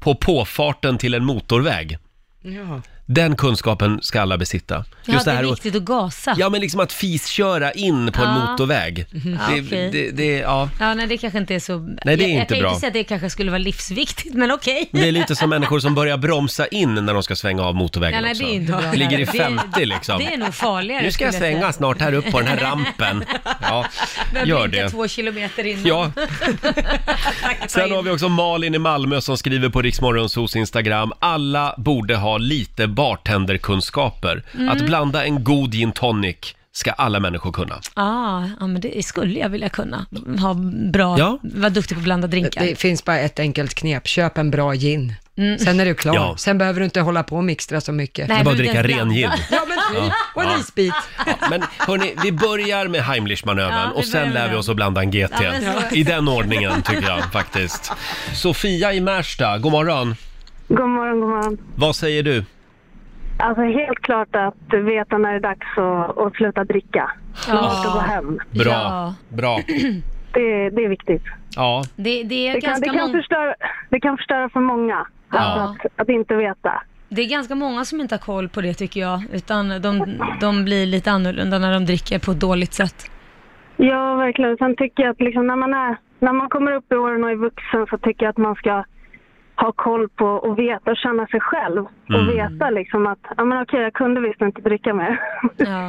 S1: på påfarten till en motorväg.
S3: Ja.
S1: Den kunskapen ska alla besitta.
S2: Ja, det är
S1: här och-
S2: viktigt att gasa. Ja,
S1: Ja, men liksom att fisköra in på en
S2: Ja.
S1: motorväg. Det,
S2: okej.
S1: det, det, ja.
S2: nej, det kanske inte är så...
S1: det är
S2: jag,
S1: inte
S2: jag kan
S1: bra.
S2: inte säga att det kanske skulle vara livsviktigt, men okej.
S1: det är lite som människor som börjar bromsa in när de ska svänga av motorvägen
S2: Ja, nej,
S1: också.
S2: det är inte bra.
S1: Ligger i
S2: Det-
S1: 50 liksom.
S2: Det är nog farligare.
S1: Nu ska jag
S2: skulle säga.
S1: svänga snart här upp på den här rampen. Ja,
S2: Behöver
S1: gör
S2: inte
S1: det.
S2: två kilometer innan.
S1: Ja,
S2: Tack, ta
S1: sen
S2: in.
S1: har vi också Malin i Malmö som skriver på Riksmorgonsos Instagram. Alla borde ha lite bartenderkunskaper.
S2: Mm.
S1: Att blanda en god gin tonic ska alla människor kunna.
S2: Ah, ja, men det skulle jag vilja kunna. Ha bra,
S1: Ja.
S2: vara duktig på att blanda drinkar.
S3: Det finns bara ett enkelt knep, köp en bra gin. Sen är du klar.
S1: Ja.
S3: Sen behöver du inte hålla på och mixtra så mycket.
S1: Det
S2: Mm. Nej,
S1: är bara att
S2: men
S1: dricka
S2: den-
S1: ren gin.
S3: Ja men typ, och en
S1: Ja.
S3: isbit.
S1: Ja, men hörni, vi börjar med Heimlich-manövern
S2: Ja, vi
S1: och
S2: börjar
S1: sen
S2: med
S1: lär vi
S2: den.
S1: oss att blanda en GT.
S2: Ja, men så-
S1: I den ordningen tycker jag faktiskt. Sofia i Märsta, god morgon.
S7: God morgon, god morgon.
S1: Vad säger du?
S7: Alltså helt klart att veta när det är dags att, att sluta dricka. Snart att gå hem.
S1: Bra,
S2: Ja.
S1: bra.
S7: Det, det är viktigt.
S1: Ja,
S2: Det, det, är
S7: Det kan, det,
S2: ganska
S7: kan
S2: många,
S7: förstöra, det kan förstöra för många. Alltså att, att inte veta.
S2: det är ganska många som inte har koll på det tycker jag. Utan de, de blir lite annorlunda när de dricker på ett dåligt sätt.
S7: Ja, verkligen. Sen tycker jag att liksom när, man är, när man kommer upp i åren och är vuxen så tycker jag att man ska ha koll på och veta och känna sig själv.
S1: Mm.
S7: Och veta liksom att ja, men okej, jag kunde visst inte dricka mer.
S2: Ja.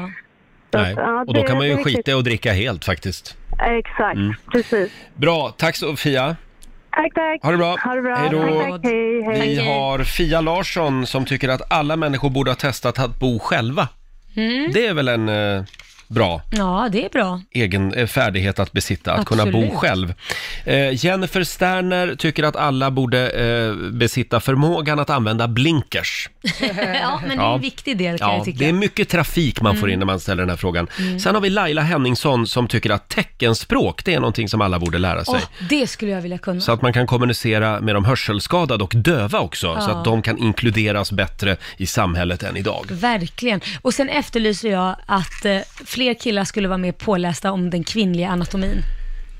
S1: nej.
S7: ja,
S1: Och då
S7: det-
S1: kan man
S7: det
S1: ju
S7: är viktigt.
S1: skita i att dricka helt faktiskt.
S7: Exakt,
S1: Mm.
S7: precis.
S1: Bra, tack Sofia.
S7: Tack, tack.
S1: Ha det bra.
S7: Ha det bra.
S1: Hej då.
S7: Tack, tack. Hej, hej.
S1: Vi
S2: Tack, hej.
S1: har Fia Larsson som tycker att alla människor borde ha testat att bo själva.
S2: Mm.
S1: Det är väl en eh, bra
S2: ja, det är bra.
S1: egen eh, färdighet att besitta, att kunna bo
S2: Absolut.
S1: själv. Eh, Jennifer Sterner tycker att alla borde eh, besitta förmågan att använda blinkers.
S2: ja, men det är
S1: Ja.
S2: en viktig del kan
S1: Ja,
S2: jag tycka. Mm.
S1: det är mycket trafik man får in när man ställer den här frågan. Sen har vi Laila Henningsson som tycker att teckenspråk, det är någonting som alla borde lära sig.
S2: Åh, det skulle jag vilja kunna.
S1: Så att man kan kommunicera med de hörselskadade och döva också, så
S2: Ja.
S1: att de kan inkluderas bättre i samhället än idag.
S2: Verkligen. Och sen efterlyser jag att eh, fler killar skulle vara mer pålästa om den kvinnliga anatomin.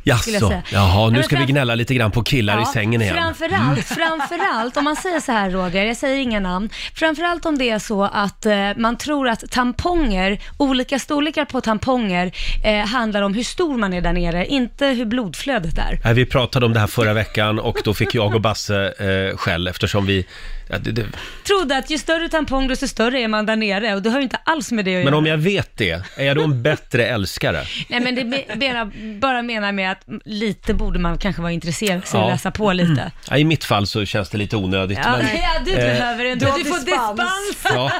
S2: Skulle jag
S1: Jaså,
S2: säga.
S1: jaha, nu
S2: men
S1: ska vi
S2: fram-
S1: gnälla lite grann på killar i sängen igen. Mm.
S2: Framförallt, framförallt, om man säger så här Roger, jag säger inga namn. Framförallt om det är så att eh, man tror att tamponger, olika storlekar på tamponger, eh, handlar om hur stor man är där nere, inte hur blodflödet är.
S1: Nej, vi pratade om det här förra veckan och då fick jag och Basse eh, skäll eftersom vi... Ja, det, det,
S2: Trodde att ju större tampong desto större är man där nere och det har ju inte alls med det att
S1: men
S2: göra.
S1: om jag vet det, är jag då en bättre älskare?
S2: Nej men det me- bara, bara menar med att lite borde man kanske vara intresserad sig
S1: Ja.
S2: och läsa på lite.
S1: Ja, I mitt fall så känns det lite onödigt.
S2: Ja,
S1: men, eh,
S2: ja du behöver inte, du, får dispens.
S1: ja,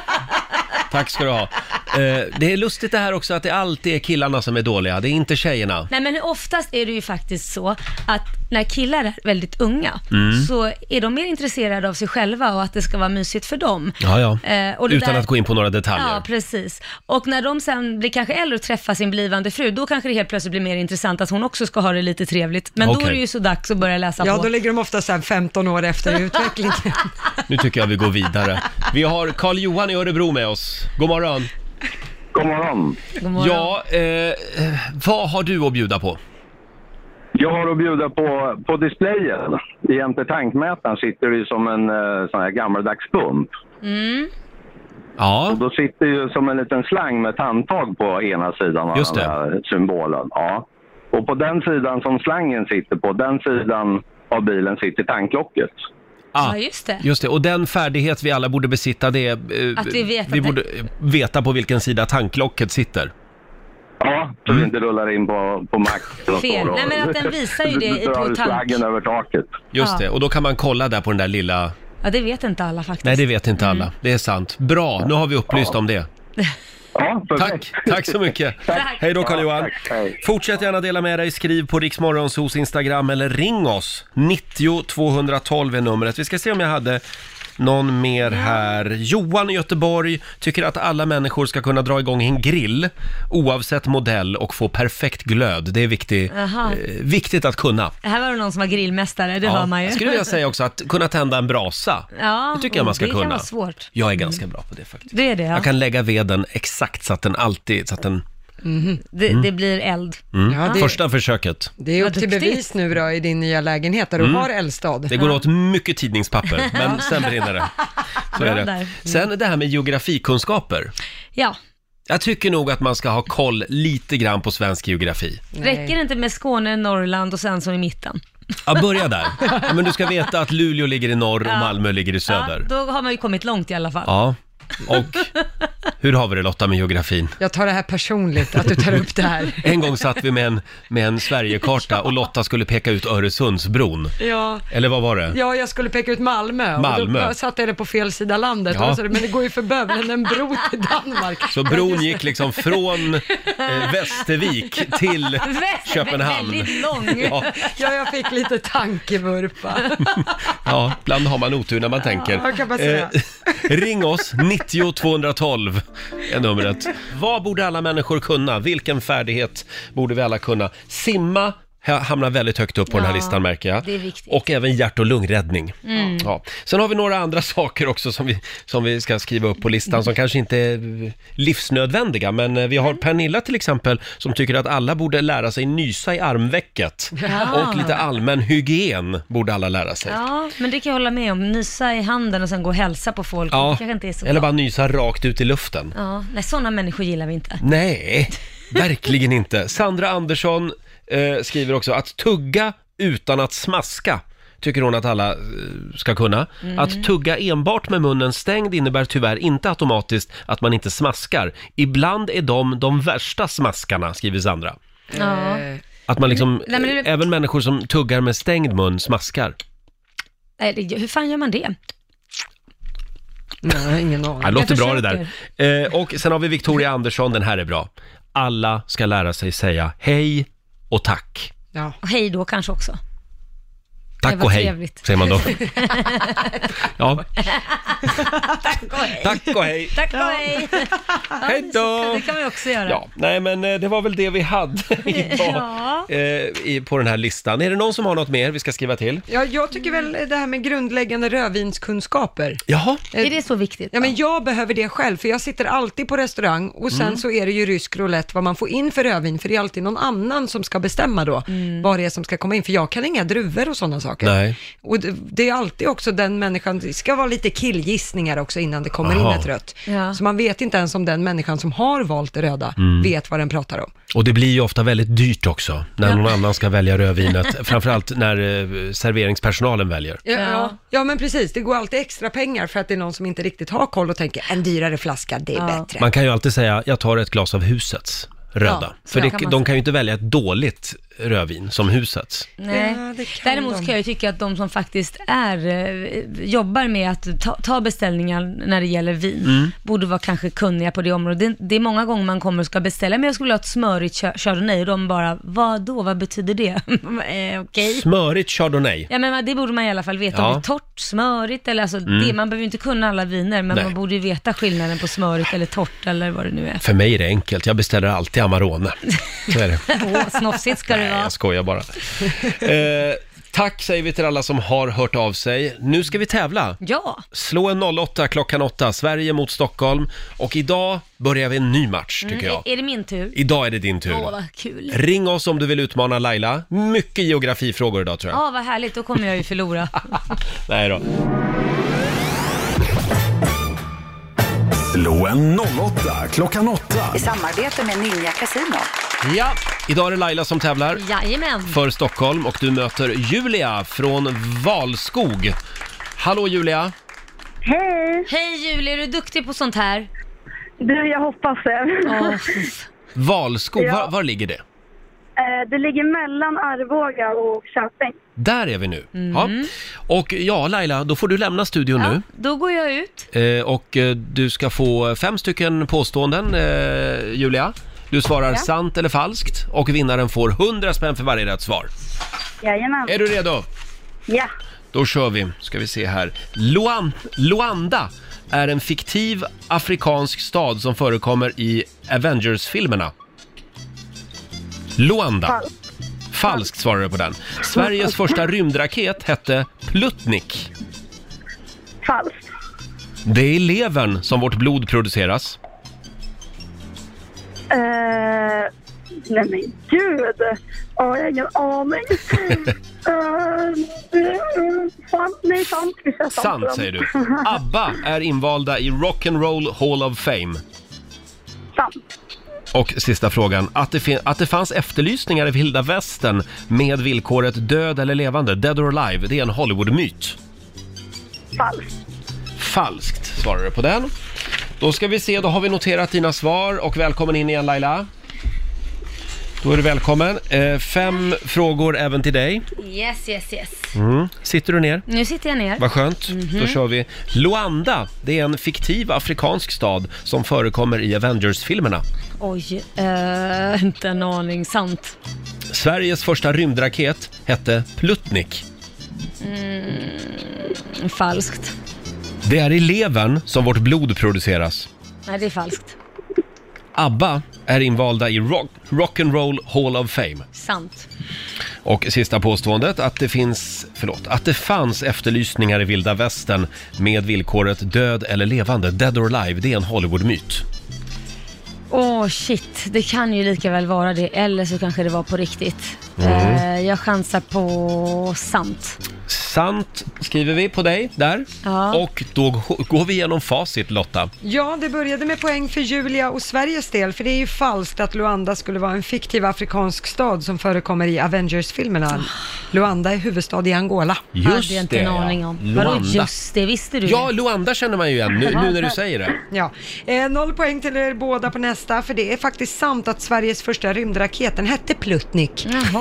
S1: tack ska du ha. Eh, det är lustigt det här också att det alltid är killarna som är dåliga, det är inte tjejerna.
S2: Nej men oftast är det ju faktiskt så att när killar är väldigt unga
S1: Mm.
S2: så är de mer intresserade av sig själva och att det ska vara mysigt för dem.
S1: Ja, ja.
S2: Eh, och det
S1: Utan
S2: där-
S1: att gå in på några detaljer.
S2: Ja, precis. Och när de sen blir kanske äldre och träffar sin blivande fru, då kanske det helt plötsligt blir mer intressant att hon också ska ha det lite trevligt. Men
S1: Okej.
S2: då är det ju så dags att börja läsa
S3: Ja,
S2: på.
S3: då ligger de ofta så här 15 år efter i utvecklingen.
S1: Nu tycker jag vi går vidare. Vi har Karl-Johan i Örebro med oss. God morgon.
S9: God morgon.
S2: God morgon.
S1: Ja, eh, eh, vad har du att bjuda på?
S9: Jag har att bjuda på, på displayen. Jämte tankmätaren sitter det ju som en eh, sån här gammaldags pump.
S1: Ja,
S9: Då sitter ju som en liten slang med tandtag på ena sidan av
S1: Just
S9: den
S1: det.
S9: här symbolen. Ja. Och på den sidan som slangen sitter på, den sidan av bilen sitter tanklocket.
S1: ah,
S2: ja, just det.
S1: Just det, och den färdighet vi alla borde besitta det är... eh,
S2: Att vi vet att det-
S1: borde eh, veta på vilken sida tanklocket sitter.
S9: Ja, så
S1: Mm.
S9: vi inte rullar in på, på max.
S2: Fel.
S9: och står och-
S2: Nej, men att den visar ju det i-
S9: Drar
S2: på tank.
S9: slaggen över taket.
S1: Just
S2: Ja.
S1: det, och då kan man kolla där på den där lilla...
S2: Ja, det vet inte alla faktiskt.
S1: Nej, det vet inte
S2: Mm.
S1: alla. Det är sant. Bra, nu har vi upplyst om det.
S9: Ja, perfekt.
S1: Tack, tack så mycket.
S2: Tack.
S1: Hej då Karl-Johan.
S9: Tack, hej.
S1: Fortsätt gärna dela med dig. Skriv på Riksmorgonsos Instagram eller ring oss. 90 212 är numret. Vi ska se om jag hade någon mer här. Johan i Göteborg tycker att alla människor ska kunna dra igång en grill oavsett modell och få perfekt glöd. Det är viktigt,
S2: Aha.
S1: eh, viktigt att kunna.
S2: Här var det någon som var grillmästare, det hör man ju.
S1: Jag skulle vilja säga också att kunna tända en brasa.
S2: Ja,
S1: det tycker jag man ska
S2: det
S1: kunna.
S2: kan vara svårt.
S1: Jag är ganska bra på det faktiskt.
S2: Det är det ja.
S1: Jag kan lägga veden exakt så att den alltid, så att den
S2: Det,
S1: Mm.
S2: det blir eld.
S3: Ja, det,
S1: Första försöket.
S3: det är upp
S2: Vad
S3: till
S2: duktigt.
S3: bevis nu då i din nya lägenhet där du har eldstad.
S1: Mm. Det går åt mycket tidningspapper, men sen brinner det. Så är
S2: Bra
S1: det.
S2: där.
S1: Sen det här med geografikunskaper.
S2: Ja,
S1: Jag tycker nog att man ska ha koll lite grann på svensk geografi.
S2: räcker det inte med Skåne, Norrland och sen som i mitten?
S1: Ja, börja där. Ja, men du ska veta att Luleå ligger i norr och Malmö ligger i söder.
S2: då har man ju kommit långt i alla fall.
S1: Ja, och hur har vi det Lotta med geografin?
S3: Jag tar det här personligt, att du tar upp det här.
S1: En gång satt vi med en, med en Sverigekarta och Lotta skulle peka ut Öresundsbron.
S3: Ja.
S1: Eller vad var det?
S3: Ja, jag skulle peka ut Malmö, och
S1: Malmö.
S3: då satte jag det på fel sida landet.
S1: Ja.
S3: Och då sa du, men det går ju för bövelen en bro till Danmark.
S1: Så bron gick liksom från eh, Västervik till
S2: Vä-
S1: Köpenhamn.
S2: Väldigt lång.
S1: Ja,
S3: Ja, jag fick lite tankevurpa.
S1: ja, ibland har man otur när man tänker. Eh,
S3: jag kan bara säga.
S1: ring oss, 90 212 är numret. Vad borde alla människor kunna? Vilken färdighet borde vi alla kunna? Simma ha- hamnar väldigt högt upp på den här
S2: Ja,
S1: listan märker jag.
S2: det är viktigt. Mm.
S1: Och även hjärt och lungräddning. Ja. Sen har vi några andra saker också som vi, som vi ska skriva upp på listan som kanske inte är eh, livsnödvändiga. Men eh, vi
S2: Mm.
S1: har Pernilla till exempel som tycker att alla borde lära sig nysa i armvecket.
S2: Ja.
S1: Och lite allmän hygien borde alla lära sig.
S2: Ja, men det kan jag hålla med om. Nysa i handen och sen gå och hälsa på folk.
S1: Ja,
S2: Det kanske inte är så
S1: eller
S2: bra.
S1: bara nysa rakt ut i luften.
S2: Ja, nej, sådana människor gillar vi inte.
S1: Nej, verkligen inte. Sandra Andersson eh, skriver också att tugga utan att smaska tycker hon att alla eh, ska kunna.
S2: Mm.
S1: Att tugga enbart med munnen stängd innebär tyvärr inte automatiskt att man inte smaskar. Ibland är de de värsta smaskarna, skriver Sandra.
S2: Ja.
S1: Att man liksom,
S2: Mm. Nej, men det-
S1: även människor som tuggar med stängd mun smaskar.
S2: Nej, det- Hur fan gör man det?
S3: Nej, ingen
S1: Ja,
S3: aning.
S1: det låter
S2: Jag
S1: bra det där. Eh, och sen har vi Victoria Andersson, den här är bra. Alla ska lära sig säga hej och tack.
S3: Ja.
S2: Och hej då kanske också. Det
S1: Tack
S2: var
S1: och hej,
S2: trevligt.
S1: säger man då. Ja. Tack och hej.
S2: Tack och hej!
S1: Hej då!
S2: Det kan vi också göra.
S1: Ja, nej men eh, det var väl det vi hade idag
S2: Ja.
S1: eh, i, på den här listan. Är det någon som har något mer vi ska skriva till?
S3: ja, jag tycker väl det här med grundläggande rödvinskunskaper.
S1: Jaha,
S2: Är det så viktigt?
S3: Ja, men jag behöver det själv, för jag sitter alltid på restaurang och
S1: Mm.
S3: sen så är det ju rysk roulette vad man får in för rödvin, för det är alltid någon annan som ska bestämma då vad det är som ska komma in, för jag kan inga druvor och sådana saker.
S1: Nej.
S3: Och det, det är alltid också den människan, det ska vara lite killgissningar också innan det kommer
S1: Aha.
S3: in ett rött.
S2: Ja.
S3: Så man vet inte ens om den människan som har valt det röda vet vad den pratar om.
S1: och det blir ju ofta väldigt dyrt också när någon annan ska välja rödvinet. Framförallt när eh, serveringspersonalen väljer.
S3: Ja,
S2: Ja.
S3: ja. ja, men precis, det går alltid extra pengar för att det är någon som inte riktigt har koll och tänker en dyrare flaska, det är
S2: Ja.
S3: bättre.
S1: Man kan ju alltid säga, jag tar ett glas av husets röda.
S2: Eh. Ja, så
S1: För det,
S2: kan man
S1: de
S2: säga.
S1: kan ju inte välja ett dåligt rödvin som husets.
S2: Nej.
S3: Ja, det kan
S2: Däremot
S3: de.
S2: kan jag ju tycka att de som faktiskt är, eh, jobbar med att ta, ta beställningar när det gäller vin,
S1: Mm.
S2: borde vara kanske kunniga på det området. Det, det är många gånger man kommer och ska beställa, men jag skulle vilja ha ett smörigt chö- chardonnay och de bara, vad då, vad betyder det? eh, Okej.
S1: Smörigt chardonnay.
S2: Ja men det borde man i alla fall veta
S1: Ja. Mm.
S2: om det är torrt, smörigt eller alltså det, man behöver ju inte kunna alla viner men
S1: Nej.
S2: man borde ju veta skillnaden på smörigt eller torrt eller vad det nu är.
S1: För mig är det enkelt, jag beställer alltid Amarone. Så är det.
S2: Åh, snofsigt ska det
S1: Nej,
S2: vara.
S1: jag skojar bara. Eh, tack säger vi till alla som har hört av sig. Nu ska vi tävla.
S2: Ja,
S1: Slå en 08 klockan 8, Sverige mot Stockholm. Och idag börjar vi en ny match tycker jag.
S2: Mm, är det min tur?
S1: Idag är det din
S2: Åh
S1: tur.
S2: vad kul.
S1: Ring oss om du vill utmana Laila. Mycket geografifrågor idag tror jag.
S2: Ja, vad härligt, då kommer jag ju förlora.
S1: Nej då.
S4: Slå en 08 klockan 8.
S10: I samarbete med Ninja Casino.
S1: Ja, idag är det Laila som tävlar.
S2: Jajamän.
S1: för Stockholm och du möter Julia från Valskog. Hallå Julia!
S7: Hej!
S2: Hej Julia, är du duktig på sånt här?
S7: Du, jag hoppas det.
S2: Åh,
S1: Valskog,
S7: Ja.
S1: var, var ligger det?
S7: Eh, Det ligger mellan Arboga och Köping.
S1: Där är vi nu. Ja. Och ja, Laila, då får du lämna studion nu.
S2: då går jag ut.
S1: Eh, och eh, du ska få fem stycken påståenden, eh, Julia. Du svarar sant eller falskt och vinnaren får 100 spänn för varje rätt svar.
S7: Jajamän.
S1: Är du redo?
S7: Ja.
S1: Då kör vi, ska vi se här. Luan, Luanda är en fiktiv afrikansk stad som förekommer i Avengers-filmerna. Luanda. Falskt. Falskt svarar du på den. Sveriges första rymdraket hette Plutnik.
S7: Falskt.
S1: Det är i levern som vårt blod produceras.
S7: Eh, Nej men gud! Ja, jag har ingen aning. Eh, det är sant, nej sant. Vi säger
S1: Sant
S7: sant
S1: säger du. ABBA är invalda i Rock'n'Roll Hall of Fame.
S7: Sant.
S1: Och sista frågan. Att det, fin- att det fanns efterlysningar i vilda västern med villkoret död eller levande, dead or alive, det är en Hollywoodmyt.
S7: Falskt.
S1: Falskt svarar du på den. Då ska vi se, då har vi noterat dina svar och välkommen in igen Laila. Då är du välkommen. Eh, fem frågor även till dig.
S2: Yes, yes, yes.
S1: Mm. Sitter du ner?
S2: Nu sitter jag ner.
S1: Vad skönt. Då kör vi. Luanda, det är en fiktiv afrikansk stad som förekommer i Avengers-filmerna.
S2: Oj, eh, inte en aning. Sant.
S1: Sveriges första rymdraket hette Plutnik.
S2: Mm, falskt.
S1: Det är i levern som vårt blod produceras.
S2: Nej, det är falskt.
S1: ABBA är invalda i rock, Rock'n'Roll Hall of Fame.
S2: Sant.
S1: Och sista påståendet, att det finns, förlåt, att det fanns efterlysningar i vilda västern med villkoret död eller levande, dead or alive, det är en Hollywoodmyt.
S2: Åh shit, det kan ju lika väl vara det, eller så kanske det var på riktigt.
S1: Mm.
S2: Eh, jag chansar på sant.
S1: Sant skriver vi på dig där.
S3: Ja.
S1: Och då g- går vi igenom facit Lotta.
S3: Ja, det började med poäng för Julia och Sveriges del, för det är ju falskt att Luanda skulle vara en fiktiv afrikansk stad som förekommer i
S2: Ah.
S3: Avengers-filmerna. Luanda är huvudstad i Angola.
S2: Hade jag inte en aning om. Vadå just det, visste du
S1: Ja,
S2: det?
S1: Luanda känner man ju igen nu, nu när du säger det.
S3: Ja. Eh, noll poäng till er båda på nästa, för det är faktiskt sant att Sveriges första rymdraket, den hette Plutnik. Eh, det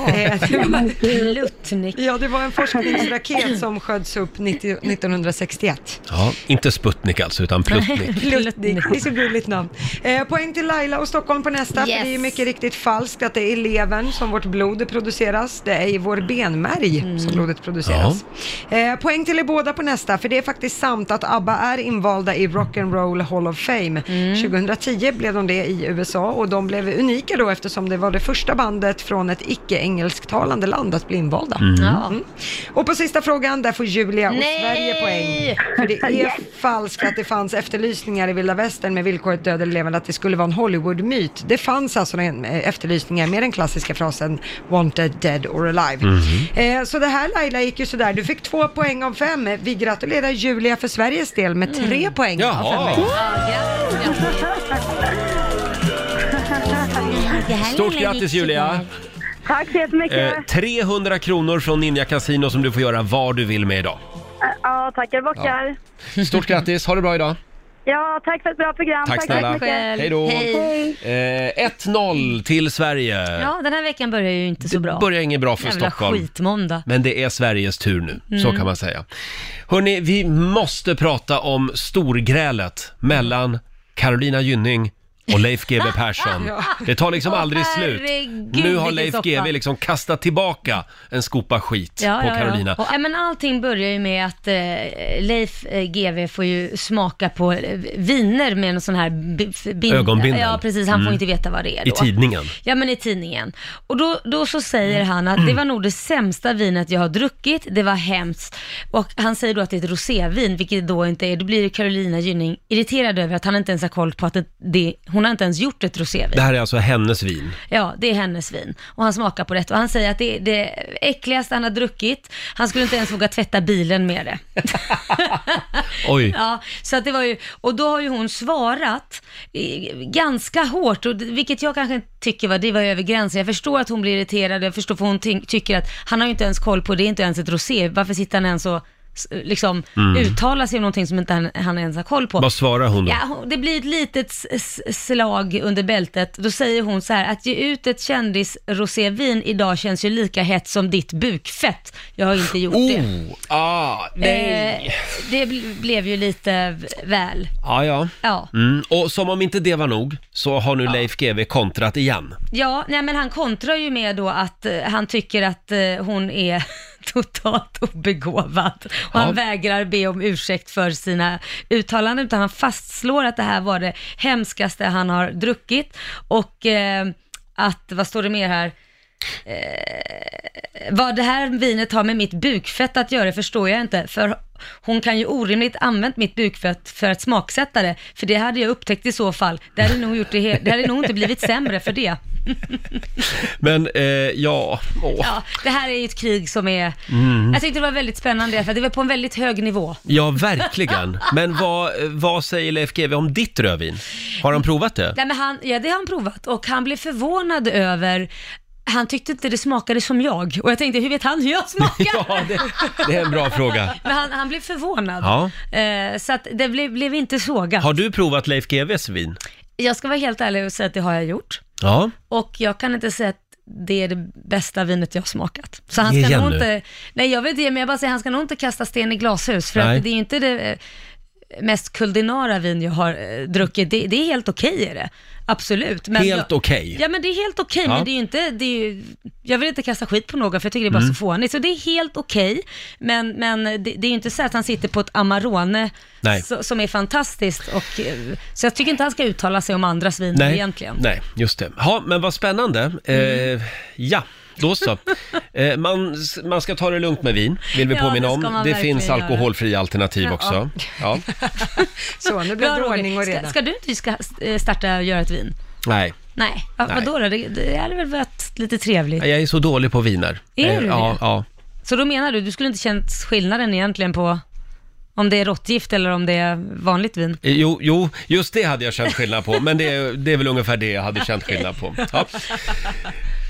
S3: var-
S2: Plutnik.
S3: Ja, det var en forskningsraket som sköts upp 90, 1961.
S1: Ja, inte Sputnik alltså, utan Plutnik.
S3: Plutnik, det är så gulligt namn. Eh, poäng till Laila och Stockholm på nästa, för det är ju mycket riktigt falskt att det är i levern som vårt blod produceras. Det är i vår benmärg som blodet produceras. Eh, poäng till er båda på nästa, för det är faktiskt sant att ABBA är invalda i Rock'n'Roll Hall of Fame. 2010 blev de det i USA och de blev unika då eftersom det var det första bandet från ett icke-engelsktalande land att bli invalda.
S11: Mm. Ja.
S3: Mm. Och på sista frågan, där får Julia och
S11: Nej!
S3: Sverige poäng. För det är falskt att det fanns efterlysningar i vilda västern med villkoret död eller levande att det skulle vara en Hollywood-myt. Det fanns alltså en, eh, efterlysningar med den klassiska frasen “Wanted, dead or alive”.
S5: Mhm.
S3: Eh, så det här Laila gick ju sådär. Du fick två poäng av fem. Vi gratulerar Julia för Sveriges del med tre poäng av fem.
S1: Jaha.
S3: poäng.
S1: Stort grattis Julia!
S7: Tack så jättemycket.
S1: Eh, 300 kronor från Ninja Casino som du får göra vad du vill med idag.
S7: Eh, Ja, tackar bockar.
S1: Stort grattis, ha det bra idag!
S7: Ja, tack för ett bra program.
S1: Tack
S7: så
S1: snälla.
S7: mycket.
S1: Hej då.
S7: Hej.
S1: Eh, 1-0 till Sverige.
S2: Ja, den här veckan börjar ju inte så bra.
S1: Börjar inget bra för
S2: Jävla
S1: Stockholm.
S2: skitmåndag.
S1: Men det är Sveriges tur nu, så
S2: Mm.
S1: kan man säga. Hörni, vi måste prata om storgrälet mellan Carolina Gynning och Leif GW Persson.
S2: Ja.
S1: Det tar liksom
S2: Åh,
S1: aldrig slut.
S2: herregud,
S1: Nu har
S2: vilken
S1: Leif
S2: soppa.
S1: GW liksom kastat tillbaka en skopa skit på Carolina.
S2: Och, ja, men allting börjar ju med att eh, Leif eh, GW får ju smaka på eh, viner med en sån här bi- bin-
S1: Ögonbindel.
S2: Ja, precis. Han
S1: Mm.
S2: får inte veta vad det är
S1: I
S2: då.
S1: tidningen.
S2: Ja, men i tidningen. Och då, då så säger han att det var nog det sämsta vinet jag har druckit, det var hemskt. Och han säger då att det är ett rosévin, vilket det då inte är. Då blir Carolina Gynning irriterad över att han inte ens har koll på att det, det, hon har inte ens gjort ett rosévin.
S1: Det här är alltså hennes vin.
S2: Ja, det är hennes vin. Och han smakar på det och han säger att det är det äckligaste han har druckit. Han skulle inte ens våga tvätta bilen med det.
S1: Oj.
S2: Ja, så att det var ju, och då har ju hon svarat eh, ganska hårt, och, det- vilket jag kanske inte tycker var, det var över gränsen. Jag förstår att hon blir irriterad, jag förstår för hon ty- tycker att han har ju inte ens koll på det, är inte ens ett rosé, varför sitter han ens och s- liksom
S1: Mm.
S2: uttalar sig om någonting som inte han, han ens har koll på.
S1: Vad svarar hon då?
S2: Ja, hon- det blir ett litet s- s- slag under bältet. Då säger hon så här, att ge ut ett kändis-rosévin idag känns ju lika hett som ditt bukfett. Jag har inte gjort det.
S1: Oh, ah, nej.
S2: Eh, det bl- blev ju lite v- väl.
S1: Ja, ja.
S2: Ja.
S1: Mm. Och som om inte det var nog så har nu Leif GW kontrat igen.
S2: Ja, nej men han kontrar ju med då att eh, han tycker att eh, hon är totalt obegåvad och
S1: Ja.
S2: han vägrar be om ursäkt för sina uttalanden utan han fastslår att det här var det hemskaste han har druckit och eh, att, vad står det mer här? Eh, vad det här vinet har med mitt bukfett att göra förstår jag inte, för hon kan ju orimligt använt mitt bukfett för att smaksätta det, för det hade jag upptäckt i så fall. Det hade nog, gjort det he- det hade nog inte blivit sämre för det.
S1: Men eh, ja, åh.
S2: Ja, det här är ju ett krig som är...
S1: Mm.
S2: Jag tyckte det var väldigt spännande, för det var på en väldigt hög nivå.
S1: Ja, verkligen. Men vad, vad säger Leif GW om ditt rödvin? Har han provat det?
S2: Nej, men han, ja, det har han provat och han blev förvånad över han tyckte inte det smakade som jag och jag tänkte, hur vet han hur jag smakar?
S1: Ja, det, det är en bra fråga.
S2: Men han, han blev förvånad.
S1: Ja.
S2: Eh, så att det blev, blev inte sågat.
S1: Har du provat Leif GWs vin?
S2: Jag ska vara helt ärlig och säga att det har jag gjort.
S1: Ja.
S2: Och jag kan inte säga att det är det bästa vinet jag har smakat. Så han
S1: Ge
S2: ska
S1: igen
S2: nog
S1: nu.
S2: inte, nej jag vet inte, men jag bara säger han ska nog inte kasta sten i glashus för
S1: Nej.
S2: att det är ju inte det eh, mest kuldinara vin jag har eh, druckit. Det, det är helt okej är det, absolut. Men
S1: Helt
S2: jag-
S1: okej?
S2: Ja men det är helt okej,
S1: Ja.
S2: men det är ju inte, det är ju, jag vill inte kasta skit på någon för jag tycker det är bara
S1: Mm.
S2: så fånigt. Så det är helt okej, men, men det, det är ju inte så att han sitter på ett Amarone
S1: Nej.
S2: så, som är fantastiskt. Och, eh, så jag tycker inte han ska uttala sig om andras viner
S1: Nej.
S2: egentligen. Mm.
S1: Nej, just det. Ja, men vad spännande. Eh, ja, då så. Eh, man, man ska ta det lugnt med vin, vill vi
S2: Ja,
S1: påminna
S2: det
S1: om.
S2: ska man
S1: Det
S2: verkligen
S1: finns
S2: göra.
S1: alkoholfria alternativ
S2: Ja.
S1: också. Ja.
S3: Så, nu blev
S2: Bra,
S3: det
S2: Roger.
S3: ordning och reda.
S2: Ska, ska du inte ska, eh, starta och göra ett vin?
S1: Nej.
S2: Nej, ja,
S1: Nej.
S2: vadå då? Det, det hade väl varit lite trevligt?
S1: Nej, Jag är så dålig på viner.
S2: Är
S1: Eh,
S2: du det?
S1: ja, ja.
S2: Så då menar du, du skulle inte känt skillnaden egentligen på om det är råttgift eller om det är vanligt vin?
S1: Eh, Jo, jo, just det hade jag känt skillnad på, men det, det är väl ungefär det jag hade känt skillnad på. Ja.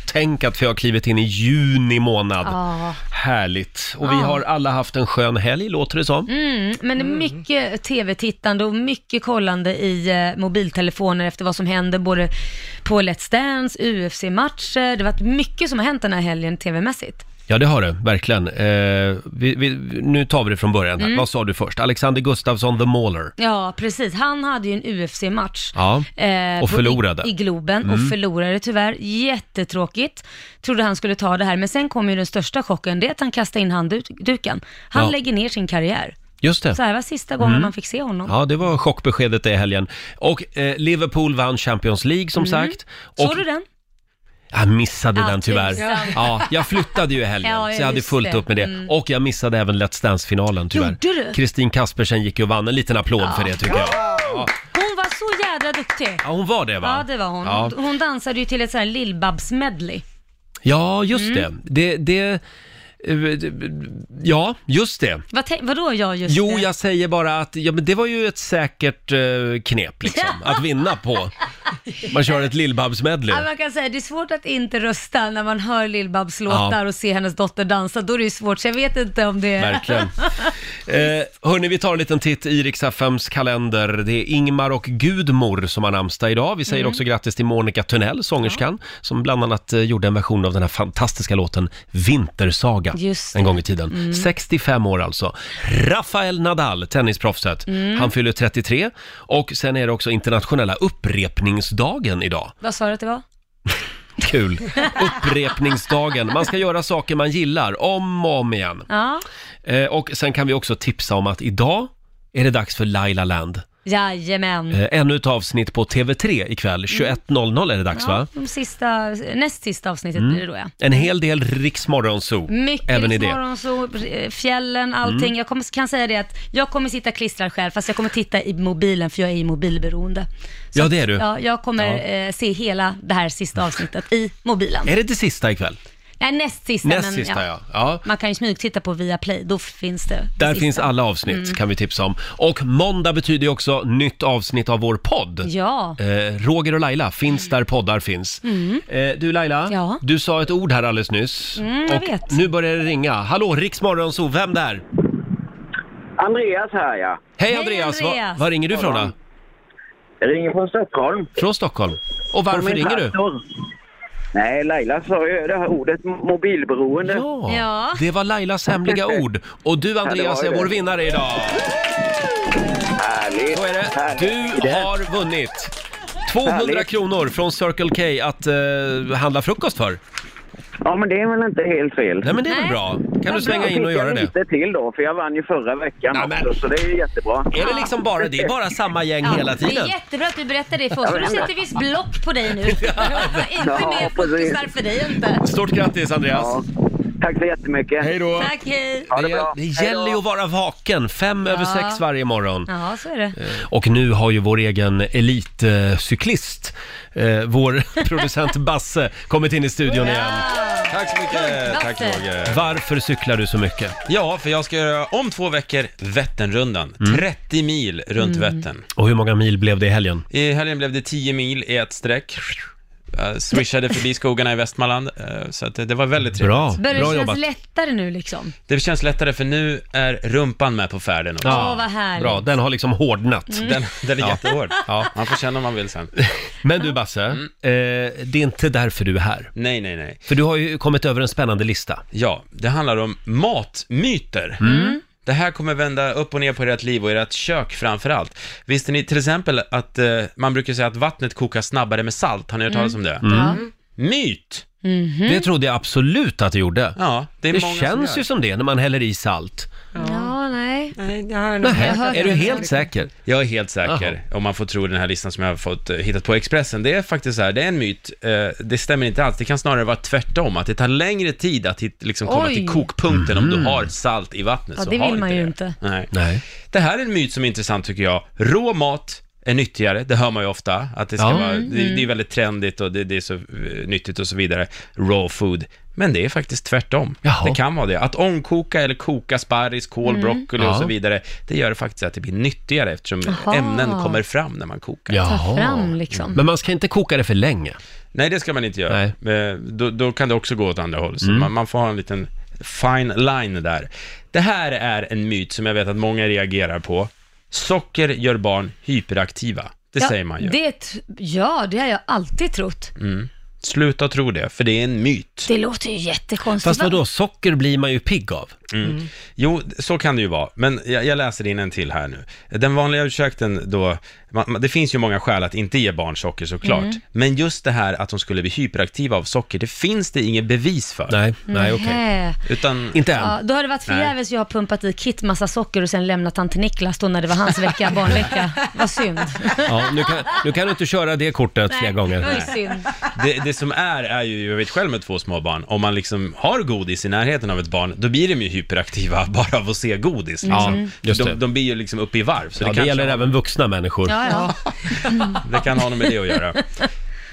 S1: Tänk att vi har klivit in i juni månad.
S2: Ja.
S1: Härligt. Och vi
S2: Ja.
S1: har alla haft en skön helg, låter det som.
S2: Mm, men det är mycket tv-tittande och mycket kollande i eh, mobiltelefoner efter vad som händer både på Let's Dance, UFC-matcher. Det har varit mycket som har hänt den här helgen tv-mässigt.
S1: Ja, det har det, verkligen. Eh, vi, vi, nu tar vi det från början här.
S2: Mm.
S1: Vad sa du först? Alexander Gustafsson, the mauler.
S2: Ja, precis. Han hade ju en UFC-match.
S1: Ja,
S2: Eh,
S1: och
S2: på-
S1: förlorade.
S2: I, i Globen och
S1: Mm.
S2: förlorade tyvärr. Jättetråkigt. Trodde han skulle ta det här, men sen kom ju den största chocken. Det är att han kastade in handduken. Han
S1: Ja.
S2: lägger ner sin karriär.
S1: Just det.
S2: Så här var sista gången
S1: Mm.
S2: man fick se honom.
S1: Ja, det var chockbeskedet det i helgen. Och eh, Liverpool vann Champions League, som
S2: Mm.
S1: sagt. Och
S2: Såg du den?
S1: Jag missade den
S2: Ja,
S1: tyvärr.
S2: tusan.
S1: Ja, jag flyttade ju i helgen,
S2: Ja,
S1: så jag hade
S2: just
S1: fullt
S2: det.
S1: upp med det.
S2: Mm.
S1: Och jag missade även Let's Dance-finalen tyvärr.
S2: Gjorde du?
S1: Kristin Kaspersen gick ju och vann. En liten applåd för det tycker jag. Ja.
S2: Hon var så jädra duktig.
S1: ja, hon var det va?
S2: Ja, det var hon.
S1: Ja,
S2: Hon dansade ju till ett sånt här lill-Babs-medley.
S1: ja just
S2: Mm.
S1: det. det, det eh, ja, just det.
S2: Vad tän- vadå jag just
S1: Jo,
S2: det?
S1: jag säger bara att ja, men det var ju ett säkert eh, knep liksom, att vinna på. Man kör ett Lill-Babs-medley.
S2: Ja, man kan säga det är svårt att inte rösta när man hör Lill-Babs låtar
S1: Ja.
S2: och ser hennes dotter dansa. Då är det ju svårt, så jag vet inte om det är...
S1: Verkligen. Eh, hörni, vi tar en liten titt i Rix FMs kalender. Det är Ingmar och Gudmor som har namnsdag idag. Vi säger
S5: Mm.
S1: också grattis till Monica Tunnell, sångerskan, som bland annat eh, gjorde en version av den här fantastiska låten Vintersaga
S5: Just det.
S1: en gång i tiden.
S5: Mm.
S1: 65 år alltså. Rafael Nadal, tennisproffset,
S2: Mm.
S1: han fyller 33 och sen är det också internationella upprepningsdagen idag.
S2: Vad sa du att det var?
S1: Kul! Upprepningsdagen. Man ska göra saker man gillar om och om igen.
S2: Ja,
S1: Eh, Och sen kan vi också tipsa om att idag är det dags för Laila Land.
S2: jajamän.
S1: Eh, Ännu ett avsnitt på TV3 ikväll. 21.00 är det dags va?
S2: Mm. Ja, de sista, näst sista avsnittet
S1: Mm.
S2: blir det då ja.
S1: En hel del Riks Morgonzoo.
S2: Mycket
S1: Även i
S2: Rix
S1: det.
S2: Morgonzoo, r- fjällen, allting.
S1: Mm.
S2: Jag kommer, kan säga det att jag kommer sitta klistrad själv, fast jag kommer titta i mobilen för jag är ju mobilberoende. Så
S1: Ja,
S2: att-
S1: det är du.
S2: Ja, jag kommer
S1: Ja.
S2: eh, se hela det här sista avsnittet i mobilen.
S1: Är det det sista ikväll?
S2: Nej, näst sista.
S1: Näst
S2: men,
S1: sista ja.
S2: ja.
S1: ja.
S2: Man kan ju smygtitta på Viaplay, då finns det. det
S1: Där
S2: sista.
S1: finns alla avsnitt
S2: Mm.
S1: kan vi tipsa om. Och måndag betyder ju också nytt avsnitt av vår podd.
S2: Ja.
S1: Eh, Roger och Laila finns där poddar finns.
S2: Mm.
S1: Eh, du Laila,
S2: Ja.
S1: du sa ett ord här alldeles nyss.
S2: Mm, jag
S1: och
S2: vet.
S1: nu börjar det ringa. Hallå, Riks Morgonzoo, vem där?
S11: Andreas här ja.
S1: Hej Andreas, Var, var ringer du ifrån då?
S11: Jag ringer från Stockholm.
S1: Från Stockholm? Och varför
S11: Från min
S1: ringer du?
S11: traktor. Nej, Laila sa ju det här ordet mobilberoende.
S1: Ja, Det var Lailas hemliga ord. Och du Andreas
S11: Ja, det var ju
S1: är vår
S11: det.
S1: vinnare idag.
S11: Härligt.
S1: Så är det. Du har vunnit 200
S11: Härligt.
S1: kronor från Circle K att eh, handla frukost för.
S11: Ja, men det är väl inte helt fel.
S1: Nej, men det är väl Nej. bra. Kan du svänga in och göra det?
S11: lite till då, för jag vann ju förra veckan också, så det är ju jättebra.
S1: Är det liksom bara, det är bara samma gäng Eh, hela
S2: Det
S1: tiden?
S2: är jättebra att du berättar det för oss, för nu sätter vi block på dig nu. inte
S1: Ja,
S2: mer fokusar för dig inte.
S1: Stort grattis Andreas!
S11: Tack så jättemycket.
S1: Hej då.
S2: Tack, hej.
S11: Ha det
S1: Det,
S11: bra.
S1: det gäller ju att vara vaken, fem över
S2: Ja.
S1: sex varje morgon.
S2: Ja, så är det.
S1: Och nu har ju vår egen elitcyklist, eh, vår producent Basse, kommit in i studion igen.
S5: Tack så mycket. Tack Roger.
S1: Varför cyklar du så mycket?
S5: Ja, för jag ska göra om två veckor Vätternrundan. 30 mil runt Vättern.
S1: Och hur många mil blev det i helgen?
S5: I helgen blev det 10 mil i ett streck. Jag swishade förbi skogarna i Västmanland, eh, så att det, det var väldigt trevligt.
S1: Bra,
S2: Börjar det kännas lättare nu liksom?
S5: Det känns lättare för nu är rumpan med på färden också.
S2: Ja, Åh, vad härligt. bra.
S1: Den har liksom hårdnat. Mm.
S5: Den, den är
S1: Ja.
S5: jättehård. Man får känna om man vill sen.
S1: Men du Basse,
S5: Mm.
S1: eh, det är inte därför du är här.
S5: Nej, nej, nej.
S1: För du har ju kommit över en spännande lista.
S5: Ja, det handlar om matmyter.
S1: Mm.
S5: Det här kommer vända upp och ner på ert liv och ert kök framför allt. Visste ni till exempel att eh, man brukar säga att vattnet kokar snabbare med salt? Har ni hört talas om det?
S1: Mm. Ja.
S5: Myt!
S2: Mhm.
S1: Det trodde jag absolut att det gjorde.
S5: Ja, det är många som
S1: känns
S5: gör.
S1: ju som det när man häller i salt.
S2: Ja, nej.
S3: Nej, det har jag nog
S1: Nähä,
S2: Jag har hört
S1: är du
S2: det.
S1: helt säker?
S5: Jag är helt säker, om man får tro den här listan som jag har fått eh, hittat på Expressen. Det är faktiskt så här, det är en myt. eh, Det stämmer inte alls. Det kan snarare vara tvärtom, att det tar längre tid att hit, liksom, komma
S2: Oj.
S5: till kokpunkten om
S1: Mhm.
S5: du har salt i vattnet.
S2: Ja,
S5: så
S2: det
S5: har
S2: vill man
S5: inte
S2: ju
S5: det.
S2: inte.
S5: Nej.
S1: Nej.
S5: Det här är en myt som är intressant tycker jag. Rå mat är nyttigare, det hör man ju ofta. Att det, ska
S1: Ja.
S5: vara,
S1: Mm,
S5: det, det är väldigt trendigt och det, det är så eh, nyttigt och så vidare. Raw food. Men det är faktiskt tvärtom.
S1: Jaha.
S5: Det kan vara det. Att ångkoka eller koka sparris, kål,
S2: Mm.
S5: broccoli och
S1: Ja.
S5: så vidare, det gör det faktiskt att det blir nyttigare eftersom
S2: Jaha.
S5: ämnen kommer fram när man kokar.
S2: Ta fram liksom.
S1: Men man ska inte koka det för länge.
S5: Nej, det ska man inte göra. Eh, Då, då kan det också gå åt andra håll. Så
S1: Mm.
S5: man, man får ha en liten fine line där. Det här är en myt som jag vet att många reagerar på. Socker gör barn hyperaktiva. Det
S2: ja,
S5: säger man ju.
S2: Det, ja, det har jag alltid trott.
S5: Mm. Sluta tro det, för det är en myt.
S2: Det låter ju jättekonstigt.
S1: Fast vadå, socker blir man ju pigg av.
S5: Mm. Jo, så kan det ju vara, men jag, jag läser in en till här nu. Den vanliga ursäkten då, man, man, det finns ju många skäl att inte ge barn socker såklart,
S1: Mm.
S5: men just det här att de skulle bli hyperaktiva av socker, det finns det inget bevis för.
S1: Nej,
S2: nej, okej. Nähä.
S5: Utan...
S1: Inte
S2: Ja, då har det varit förgäves jag har pumpat i Kit massa socker och sen lämnat han till Niklas då när det var hans vecka, barnvecka. Vad synd.
S1: Ja, nu, kan, nu kan du inte köra det kortet flera
S2: Det var ju
S1: gånger.
S2: synd.
S5: Det, det som är, är ju, jag vet själv med två små barn, om man liksom har godis i närheten av ett barn, då blir de ju hyperaktiva bara av att se godis.
S1: Ja,
S5: Liksom.
S1: just det.
S5: de, de blir ju liksom uppe i varv. Så
S1: Ja, det
S5: kanske
S1: gäller
S5: har-
S1: även vuxna människor.
S2: Ja, ja.
S5: det kan ha något med det att göra.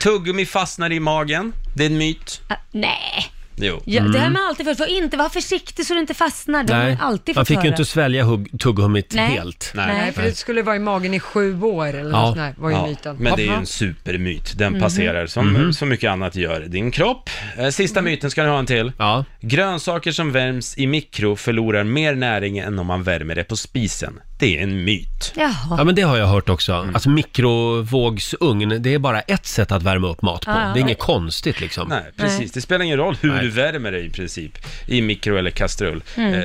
S5: Tuggummi fastnar i magen, det är en myt.
S2: Ah, Nej.
S5: Jo.
S2: Ja, Det har man alltid fått höra. Inte vara försiktig så du inte fastnar. Det har man
S1: Nej,
S2: alltid
S1: man
S2: fått
S1: fick ju
S2: höra.
S1: inte svälja hugg, tuggummit
S2: Nej.
S1: helt.
S5: Nej.
S3: Nej, för det skulle vara i magen i sju år eller något
S5: Ja.
S3: sånt där, var ju
S5: Ja,
S3: myten.
S5: Men det är ju
S3: Jaha.
S5: en supermyt. Den
S3: Mhm.
S5: passerar som
S1: Mhm.
S5: så mycket annat gör din kropp. Eh, Sista
S3: Mhm.
S5: myten ska ni ha en till. Grönsaker som värms i mikro förlorar mer näring än om man värmer det på spisen. Det är en myt.
S1: Ja,
S2: Jaha.
S1: men det har jag hört också.
S5: Mm.
S1: Att mikrovågsugn, det är bara ett sätt att värma upp mat på.
S2: Ja, ja.
S1: Det är inget konstigt liksom.
S5: Nej, precis. Det spelar ingen roll hur du värmer det i princip. I mikro eller kastrull.
S1: Mm.
S5: Eh,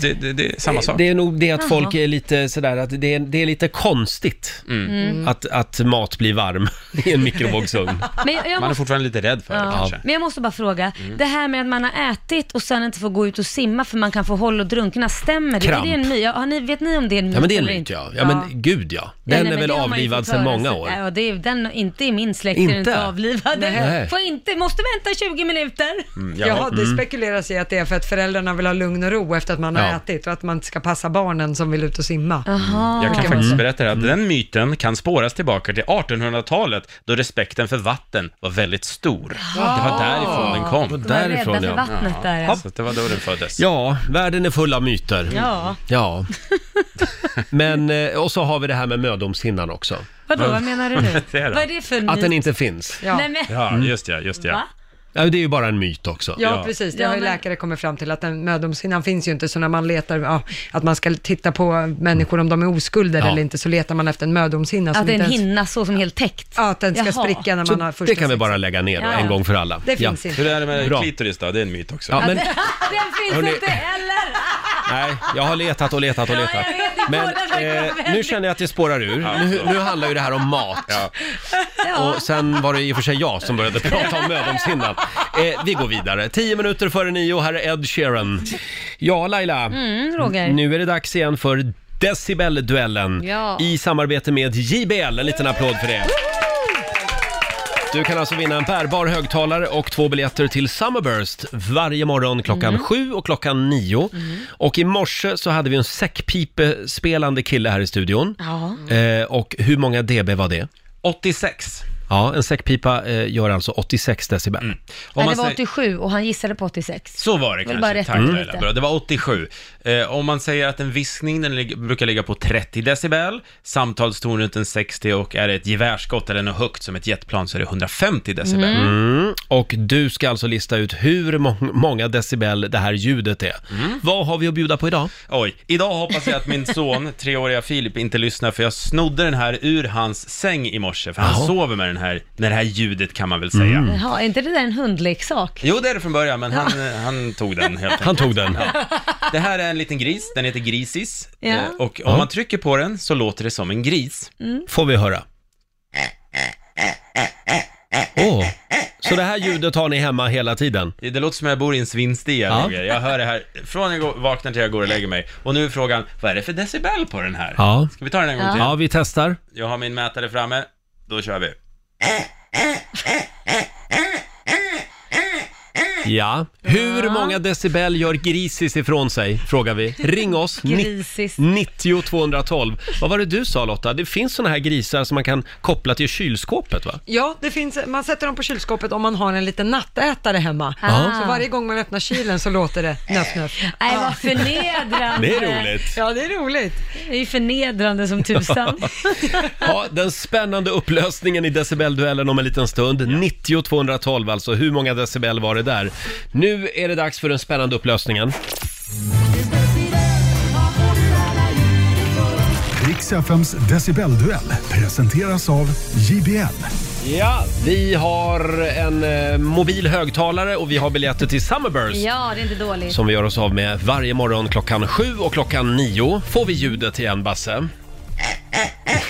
S5: Det, det, det är samma sak.
S1: Det är nog det att folk
S2: Jaha.
S1: är lite sådär att det är, det är lite konstigt
S2: Mm.
S1: att, att mat blir varm i en mikrovågsugn.
S2: Men jag, jag
S5: Man är
S2: måste...
S5: fortfarande lite rädd för det
S2: Ja.
S5: kanske.
S2: Men jag måste bara fråga,
S1: Mm.
S2: det här med att man har ätit och sen inte får gå ut och simma för man kan få håll och drunkna, stämmer det? Är
S1: Kramp.
S2: det en myt? Ja, har ni, vet ni om det är en myt
S1: Ja men det är en
S2: eller
S1: myt
S2: inte?
S1: ja. Ja men gud ja. Den
S2: Ja, nej,
S1: är
S2: men
S1: väl
S2: det har man ju
S1: avlivad
S2: fått
S1: sedan
S2: höra
S1: många
S2: sig.
S1: år.
S2: Ja, det är, den, inte i min släkt är
S1: Inte?
S2: den inte avlivad. Den
S1: Nej. Mm.
S2: Får inte, måste vänta 20 minuter.
S3: Ja, det spekuleras i att det är för att föräldrarna vill ha lugn och ro efter att man har
S5: Ja.
S3: ätit och att man inte ska passa barnen som vill ut och simma.
S2: Jaha.
S5: Jag kan
S3: Okej.
S5: faktiskt
S3: Mm.
S5: berätta det här. den myten kan spåras tillbaka till 1800-talet då respekten för vatten var väldigt stor. Det var därifrån den kom.
S1: Det var därifrån,
S2: rädda för
S1: ja.
S2: vattnet där, alltså. ja.
S5: Ja. Så att det var då den föddes.
S1: Ja, världen är full av myter.
S2: Ja.
S1: Ja. Men, eh, och så har vi det här med mödomshinnan
S2: Mm.
S1: också.
S2: Vadå, vad menar du nu?
S5: Det är det.
S2: Vad är det för myt?
S1: Att den inte finns.
S3: Ja.
S2: Nej, men,
S1: Mm.
S5: Ja, just det, just det.
S2: Va?
S1: Ja, det är ju bara en myt också.
S3: Ja, precis. Det
S2: Ja,
S3: har ju
S2: men-
S3: läkare kommit fram till att den mödomshinnan finns ju inte, så när man letar, ja, att man ska titta på människor om de är oskulder
S1: Ja.
S3: eller inte, så letar man efter en mödomshinna
S2: Att
S1: Alltså,
S3: som
S2: det är
S3: inte
S2: en
S3: ens...
S2: hinna så som helt täckt?
S3: Ja, att den ska
S2: Jaha.
S3: spricka när man har
S1: Så
S3: första
S1: det kan vi bara lägga ner då,
S2: Ja, ja.
S1: en gång för alla.
S3: Det finns inte.
S5: Hur är det med
S1: Bra.
S5: klitoris då? Det är en myt också.
S1: Ja, men,
S2: Den finns
S1: Hörni-
S2: inte heller!
S1: nej, jag har letat och letat och
S2: Ja,
S1: letat.
S2: jag vet, det
S1: Men
S2: båda verkar
S1: eh, nu
S2: väldigt-
S1: känner jag att det spårar ur. Nu, nu handlar ju det här om mat.
S2: Ja.
S1: Och sen var det i och för sig jag som började prata om mödomshinnan. Eh, vi går vidare. Tio minuter före nio, här är Ed Sheeran. Ja, Laila.
S2: Mm, Roger.
S1: Nu är det dags igen för Decibel-duellen
S2: Ja.
S1: i samarbete med JBL. En liten applåd för det. Du kan alltså vinna en bärbar högtalare och två biljetter till Summerburst varje morgon klockan
S12: Mm.
S1: sju och klockan nio.
S2: Mm.
S1: Och i morse så hade vi en säckpipespelande kille här i studion.
S2: Ja.
S1: Eh, och hur många dB var det?
S5: 86.
S1: Ja, en säckpipa eh, gör alltså 86 decibel.
S2: Nej, det var 87 och han gissade på 86.
S5: Så var det
S2: Jag vill
S5: kanske.
S2: bara rätta
S5: Tack
S2: till
S5: Laila.
S2: lite.
S5: Bra. Det var 87. Eh, om man säger att en viskning den lig- brukar ligga på 30 decibel, samtalston runt en 60 och är det ett gevärsskott eller något högt som ett jetplan så är det 150 decibel.
S1: Mm. Och du ska alltså lista ut hur mång- många decibel det här ljudet är. Vad har vi att bjuda på idag?
S5: Oj, idag hoppas jag att min son, treåriga Filip, inte lyssnar för jag snodde den här ur hans säng i morse för han sover med den här, med det här ljudet kan man väl säga.
S2: Jaha, är inte det där en hundleksak?
S5: Jo, det är det från början, men han, eh, han tog den helt
S1: Han tog den.
S5: Ja. Det här är en liten gris, den heter Grisis.
S2: Ja.
S5: Eh, Och om man trycker på den så låter det som en gris.
S2: Mm.
S1: Får vi höra. Åh, så det här ljudet har ni hemma hela tiden?
S5: Det det låter som jag bor i en svinstia,
S1: Ja.
S5: Roger. Jag hör det här från jag går, vaknar till jag går och lägger mig. Och nu är frågan, vad är det för decibel på den här?
S1: Ja.
S5: Ska vi ta den en gång till?
S1: Ja, vi testar.
S5: Jag har min mätare framme, då kör vi.
S1: Ja. Hur många decibel gör Grisis ifrån sig? Frågar vi. Ring oss. Ni-
S2: Grisis.
S1: 90 212. Vad var det du sa Lotta? Det finns såna här grisar som man kan koppla till kylskåpet va?
S3: Ja, det finns, man sätter dem på kylskåpet om man har en liten nattätare hemma.
S1: Ah.
S3: Så varje gång man öppnar kylen så låter det nöff, nöff.
S2: Nej, vad förnedrande.
S1: Det är roligt.
S3: Ja, det är roligt.
S2: Det är ju förnedrande som tusan.
S1: Ja, den spännande upplösningen i decibelduellen om en liten stund. 90 212 alltså. Hur många decibel var det där? Nu är det dags för den spännande upplösningen.
S13: Riks FMs decibelduell presenteras av JBL.
S1: Ja, vi har en eh, mobil högtalare och vi har biljetter till Summerburst.
S2: Ja, det är inte dåligt.
S1: Som vi gör oss av med varje morgon klockan sju och klockan nio får vi ljudet igen, Basse.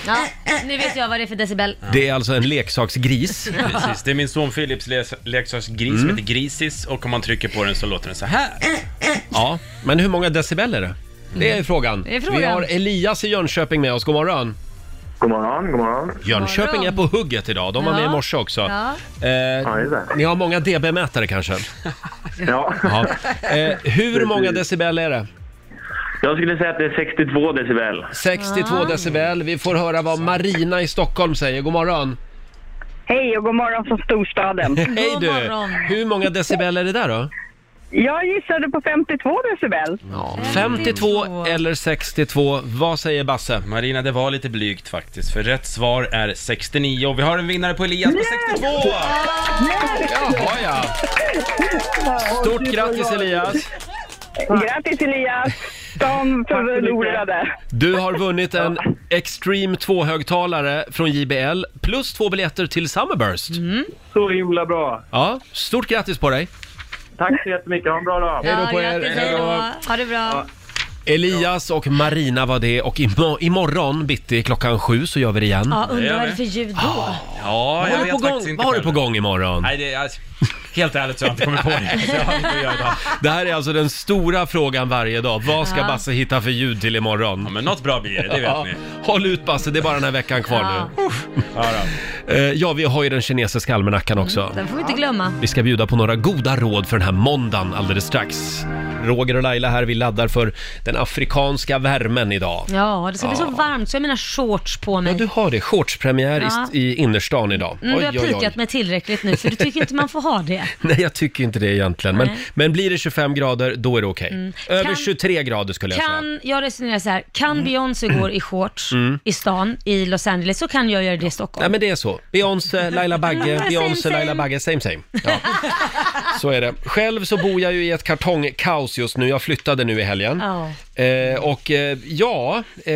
S2: Ja, nu vet jag vad det är för decibel.
S1: Det är alltså en leksaksgris.
S5: Precis, det är min son Philips le- leksaksgris som
S1: Mm.
S5: heter Grisis och om man trycker på den så låter den så här.
S1: Ja, men hur många decibel är det? Det är frågan.
S2: Det är frågan.
S1: Vi har Elias i Jönköping med oss. God morgon.
S9: God morgon, god morgon.
S1: Jönköping är på hugget idag. De var
S9: Ja.
S1: med i morse också.
S9: Ja.
S1: Eh, ni har många dB-mätare kanske?
S9: Ja.
S1: Eh, hur
S9: Precis.
S1: många decibel är det?
S9: Jag skulle säga att det är 62 decibel.
S1: 62 decibel. Vi får höra vad Marina i Stockholm säger. God morgon.
S14: Hej och god morgon från storstaden.
S1: Hej du! Hur många decibel är det där då?
S14: Jag gissade på 52 decibel.
S1: 52 eller 62. Vad säger Basse?
S5: Marina, det var lite blygt faktiskt, för rätt svar är 69 och vi har en vinnare på Elias på 62!
S1: Jaha, ja. Stort grattis Elias!
S14: Grattis Elias, som förlorade.
S1: Du har vunnit en Extreme 2-högtalare från JBL plus två biljetter till Summerburst.
S9: Så himla bra.
S1: Ja, stort grattis på dig!
S9: Tack så jättemycket, ha en bra dag.
S1: Hej då på er.
S2: Grattis, hej då. Ha det bra.
S1: Elias och Marina var det och imo- imorgon bitti klockan sju så gör vi det igen.
S2: Ja, undrar vad det är för ljud då?
S5: Ja,
S1: Vad
S5: jag
S1: har du
S5: vet
S1: på
S5: faktiskt
S1: gång?
S5: inte
S1: Vad har du
S5: själv.
S1: på gång imorgon?
S5: Nej, det är, alltså, helt ärligt så har jag inte kommit på det. Så jag har lite att göra idag.
S1: Det här är alltså den stora frågan varje dag. Vad ska
S5: Ja.
S1: Basse hitta för ljud till imorgon? Ja,
S5: men något bra blir det, det vet ni.
S1: Håll ut Basse, det är bara den här veckan kvar
S2: Ja.
S1: nu. Eh, Ja, vi har ju den kinesiska almanackan också.
S2: Den får vi inte glömma.
S1: Vi ska bjuda på några goda råd för den här måndagen alldeles strax. Roger och Laila här, vi laddar för den afrikanska värmen idag.
S2: Ja, det ska bli så
S1: Ja.
S2: varmt så jag har mina shorts på mig.
S1: Ja, du har det. Shortspremiär
S2: Ja.
S1: i, i innerstan idag.
S2: Mm, du har
S1: Oj, oj, oj.
S2: pikat mig tillräckligt nu, för du tycker inte man får ha det.
S1: Nej, jag tycker inte det egentligen. Men,
S2: Nej.
S1: men blir det 25 grader, då är det okej.
S2: Mm.
S1: Över
S2: Kan-
S1: 23 grader skulle jag säga.
S2: Kan, jag resonerar så här, kan Beyoncé gå i shorts
S1: Mm.
S2: i stan, i Los Angeles, så kan jag göra det i Stockholm.
S1: Nej men det är så. Beyoncé, Laila Bagge,
S2: Same,
S1: Beyoncé,
S2: same.
S1: Laila Bagge, same same. Ja. Så är det. Själv så bor jag ju i ett kartongkaos just nu. Jag flyttade nu i helgen.
S2: Ja.
S1: Eh, och eh, ja, eh,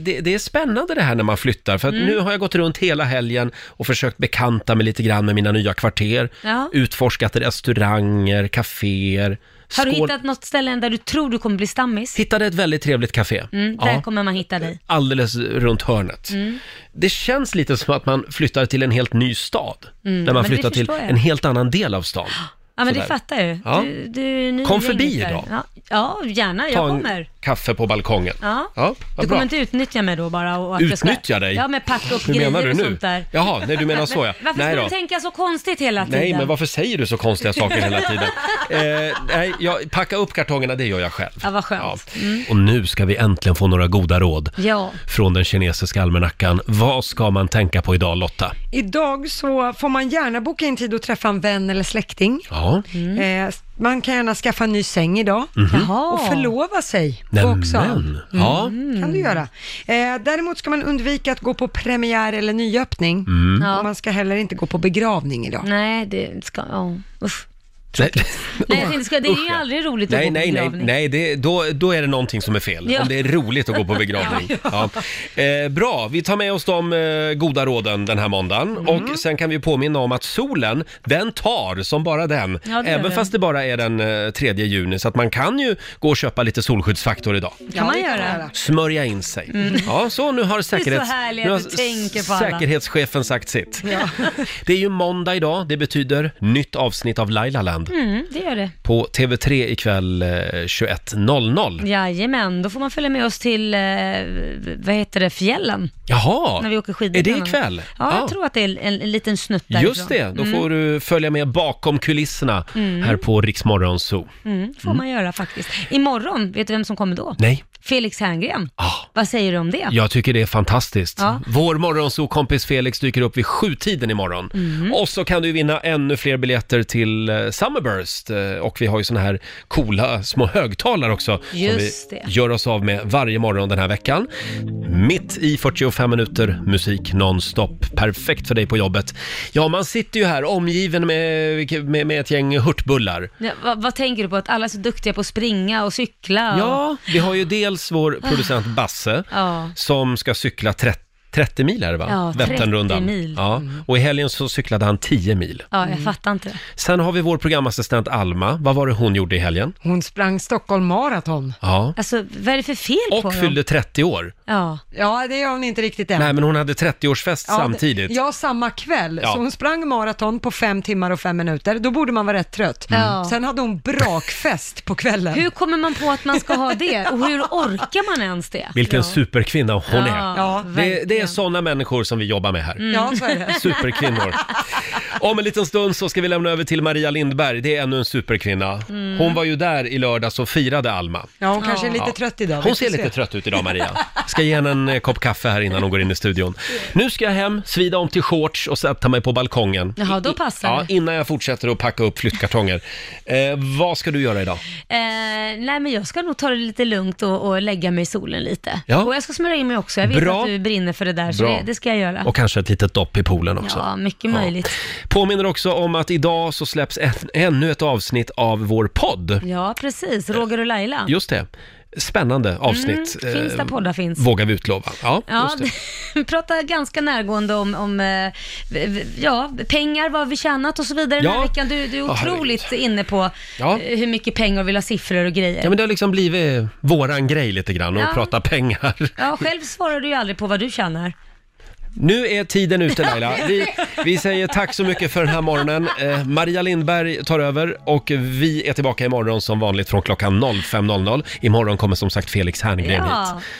S1: det, det är spännande det här när man flyttar. För att
S2: Mm.
S1: nu har jag gått runt hela helgen och försökt bekanta mig lite grann med mina nya kvarter.
S2: Ja.
S1: Utforskat restauranger, kaféer.
S2: Har du
S1: Skål-
S2: hittat något ställe där du tror du kommer bli stammis?
S1: Hittade ett väldigt trevligt kafé.
S2: Mm, där
S1: Ja,
S2: kommer man hitta dig.
S1: alldeles runt hörnet.
S2: Mm.
S1: Det känns lite som att man flyttar till en helt ny stad. när
S2: Mm,
S1: man
S2: men det
S1: flyttar till
S2: förstår jag.
S1: en helt annan del av stan.
S2: Ja, men det
S1: Sådär.
S2: fattar jag ju.
S1: Ja.
S2: Du, du är ny
S1: Kom förbi
S2: gängis där.
S1: idag.
S2: Ja, ja gärna. Jag
S1: Ta en
S2: kommer.
S1: kaffe på balkongen.
S2: Ja.
S1: vad
S2: Du
S1: bra.
S2: kommer inte utnyttja mig då bara? Och att jag ska...
S1: Utnyttja dig?
S2: Ja, med pack upp
S1: Hur
S2: grejer
S1: menar du
S2: och
S1: nu?
S2: sånt där.
S1: Jaha, nej du menar så ja.
S2: Men Varför
S1: nej
S2: ska
S1: då.
S2: du tänka så konstigt hela tiden?
S1: Nej, men varför säger du så konstiga saker hela tiden? Eh, nej, jag, packa upp kartongerna, det gör jag själv.
S2: Ja, vad skönt. Ja. Mm.
S1: Och nu ska vi äntligen få några goda råd
S2: ja.
S1: från den kinesiska almanackan. Vad ska man tänka på idag Lotta?
S3: Idag så får man gärna boka in tid och träffa en vän eller släkting.
S1: Ja.
S3: Eh, man kan gärna skaffa en ny säng idag
S1: Mhm.
S2: Jaha.
S3: och förlova sig
S1: Nämen.
S3: också.
S1: Ja.
S2: Mm.
S3: kan du göra. Eh, däremot ska man undvika att gå på premiär eller nyöppning.
S1: Mm.
S2: Ja.
S3: Och man ska heller inte gå på begravning idag.
S2: Nej, det ska... Ja. Usch.
S1: Nej,
S2: Nej, jag tänkte, ska- det är
S1: Usch,
S2: ju
S1: ja.
S2: aldrig roligt att
S1: nej,
S2: gå
S1: nej,
S2: på
S1: nej,
S2: begravning.
S1: nej det, då, då är det någonting som är fel.
S2: Ja.
S1: Om det är roligt att gå på begravning. ja. Eh, bra, vi tar med oss de eh, goda råden den här måndagen.
S2: Mm.
S1: Och sen kan vi påminna om att solen, den tar som bara den.
S2: Ja, det gör
S1: Även
S2: den.
S1: fast det bara är den eh, 3 juni. Så att man kan ju gå och köpa lite solskyddsfaktor idag.
S2: kan man göra.
S1: Smörja in sig.
S2: Mm.
S1: Ja, så nu har,
S2: så
S1: säkerhets...
S2: härligt
S1: nu
S2: att du tänker på alla.
S1: säkerhetschefen sagt sitt.
S2: Ja.
S1: Det är ju måndag idag, det betyder nytt avsnitt av Lailaland.
S2: Mm, det gör det.
S1: på TV3 ikväll eh, 21.00.
S2: Jajamän, då får man följa med oss till, eh, vad heter det, fjällen.
S1: Jaha,
S2: När vi åker skidor.
S1: är det
S2: bland annat.
S1: ikväll?
S2: Ja, jag
S1: Ah.
S2: tror att det är en, en liten snutt därifrån.
S1: Just det, då
S2: Mm.
S1: får du följa med bakom kulisserna
S2: Mm.
S1: här på Riksmorgon Zoo.
S2: Mm, får
S1: Mm.
S2: man göra faktiskt. Imorgon, vet du vem som kommer då?
S1: Nej, Ah.
S2: Felix Herngren. Vad säger du om det?
S1: jag tycker det är fantastiskt.
S2: Ja.
S1: Vår morgonzoo-kompis Felix dyker upp vid sjutiden imorgon.
S2: Mm.
S1: Och så kan du vinna ännu fler biljetter till eh, Summerburst. Eh, Och vi har ju såna här coola små högtalare också.
S2: Just
S1: som
S2: det.
S1: vi gör oss av med varje morgon den här veckan. Mitt i 45 minuter musik nonstop. Perfekt för dig på jobbet. Ja, man sitter ju här omgiven med, med, med ett gäng hurtbullar.
S2: Ja, vad, vad tänker du på? Att alla är så duktiga på att springa och cykla? Och...
S1: Ja, vi har ju dels vår producent Basse
S2: Ja.
S1: som ska cykla 30 30 mil är det va?
S2: Ja, 30
S1: Vätternrundan.
S2: mil. Mm.
S1: Ja. Och i helgen så cyklade han 10 mil.
S2: Ja, jag fattar inte.
S1: Sen har vi vår programassistent Alma. Vad var det hon gjorde i helgen?
S3: Hon sprang Stockholm Marathon.
S1: Ja.
S2: Alltså, vad är det för fel på
S1: Och
S2: dem?
S1: fyllde 30 år.
S2: Ja.
S3: ja, det gör hon inte riktigt än.
S1: Nej, men hon hade 30-årsfest
S3: Ja, det-
S1: samtidigt.
S3: Ja, samma kväll.
S1: Ja.
S3: Så hon sprang maraton på fem timmar och fem minuter. Då borde man vara rätt trött.
S2: Ja.
S3: Mm. Sen hade hon brakfest på kvällen.
S2: Hur kommer man på att man ska ha det? Och hur orkar man ens det?
S1: Vilken superkvinna hon
S2: Ja,
S1: är.
S2: ja,
S1: det, det är
S2: verkligen.
S1: sådana människor som vi jobbar med här.
S2: Mm. Ja, så är det.
S1: Superkvinnor. Om en liten stund så ska vi lämna över till Maria Lindberg. Det är ännu en superkvinna.
S3: Mm.
S1: Hon var ju där i lördags och firade Alma.
S3: Ja, hon kanske är lite
S1: Ja.
S3: trött idag.
S1: Hon
S3: Vi får
S1: ser
S3: se.
S1: lite trött ut idag, Maria. Ska ge henne en eh, kopp kaffe här innan hon går in i studion. Nu ska jag hem, svida om till shorts och sätta mig på balkongen.
S2: Jaha, då passar
S1: Ja,
S2: det.
S1: innan jag fortsätter att packa upp flyttkartonger. Eh, vad ska du göra idag?
S2: Eh, nej, men jag ska nog ta det lite lugnt och, och lägga mig i solen lite.
S1: Ja.
S2: Och jag ska smörja in mig också. Jag vet
S1: Bra.
S2: att du brinner för det där, så
S1: Bra.
S2: det, det ska jag göra.
S1: Och kanske ett litet dopp i poolen också.
S2: Ja, mycket möjligt.
S1: Påminner också om att idag så släpps en, ännu ett avsnitt av vår podd.
S2: Ja, precis. Roger och Laila.
S1: Just det. Spännande avsnitt. eh,
S2: Mm, finns där poddar finns.
S1: Vågar vi utlova. Ja,
S2: Ja,
S1: just det.
S2: vi pratar ganska närgående om, om eh, v- v- ja, pengar, vad vi tjänat och så vidare den
S1: Ja.
S2: här veckan. Du, du är
S1: Ja,
S2: otroligt inne på
S1: Ja.
S2: eh, hur mycket pengar och vill ha siffror och grejer.
S1: Ja, men det har liksom blivit våran grej lite grann, att
S2: Ja.
S1: prata pengar.
S2: Ja, själv svarar du ju aldrig på vad du tjänar.
S1: Nu är tiden ute Laila. Vi, vi säger tack så mycket för den här morgonen. Eh, Maria Lindberg tar över och vi är tillbaka imorgon som vanligt från klockan 05.00. Imorgon kommer som sagt Felix Herngren hit.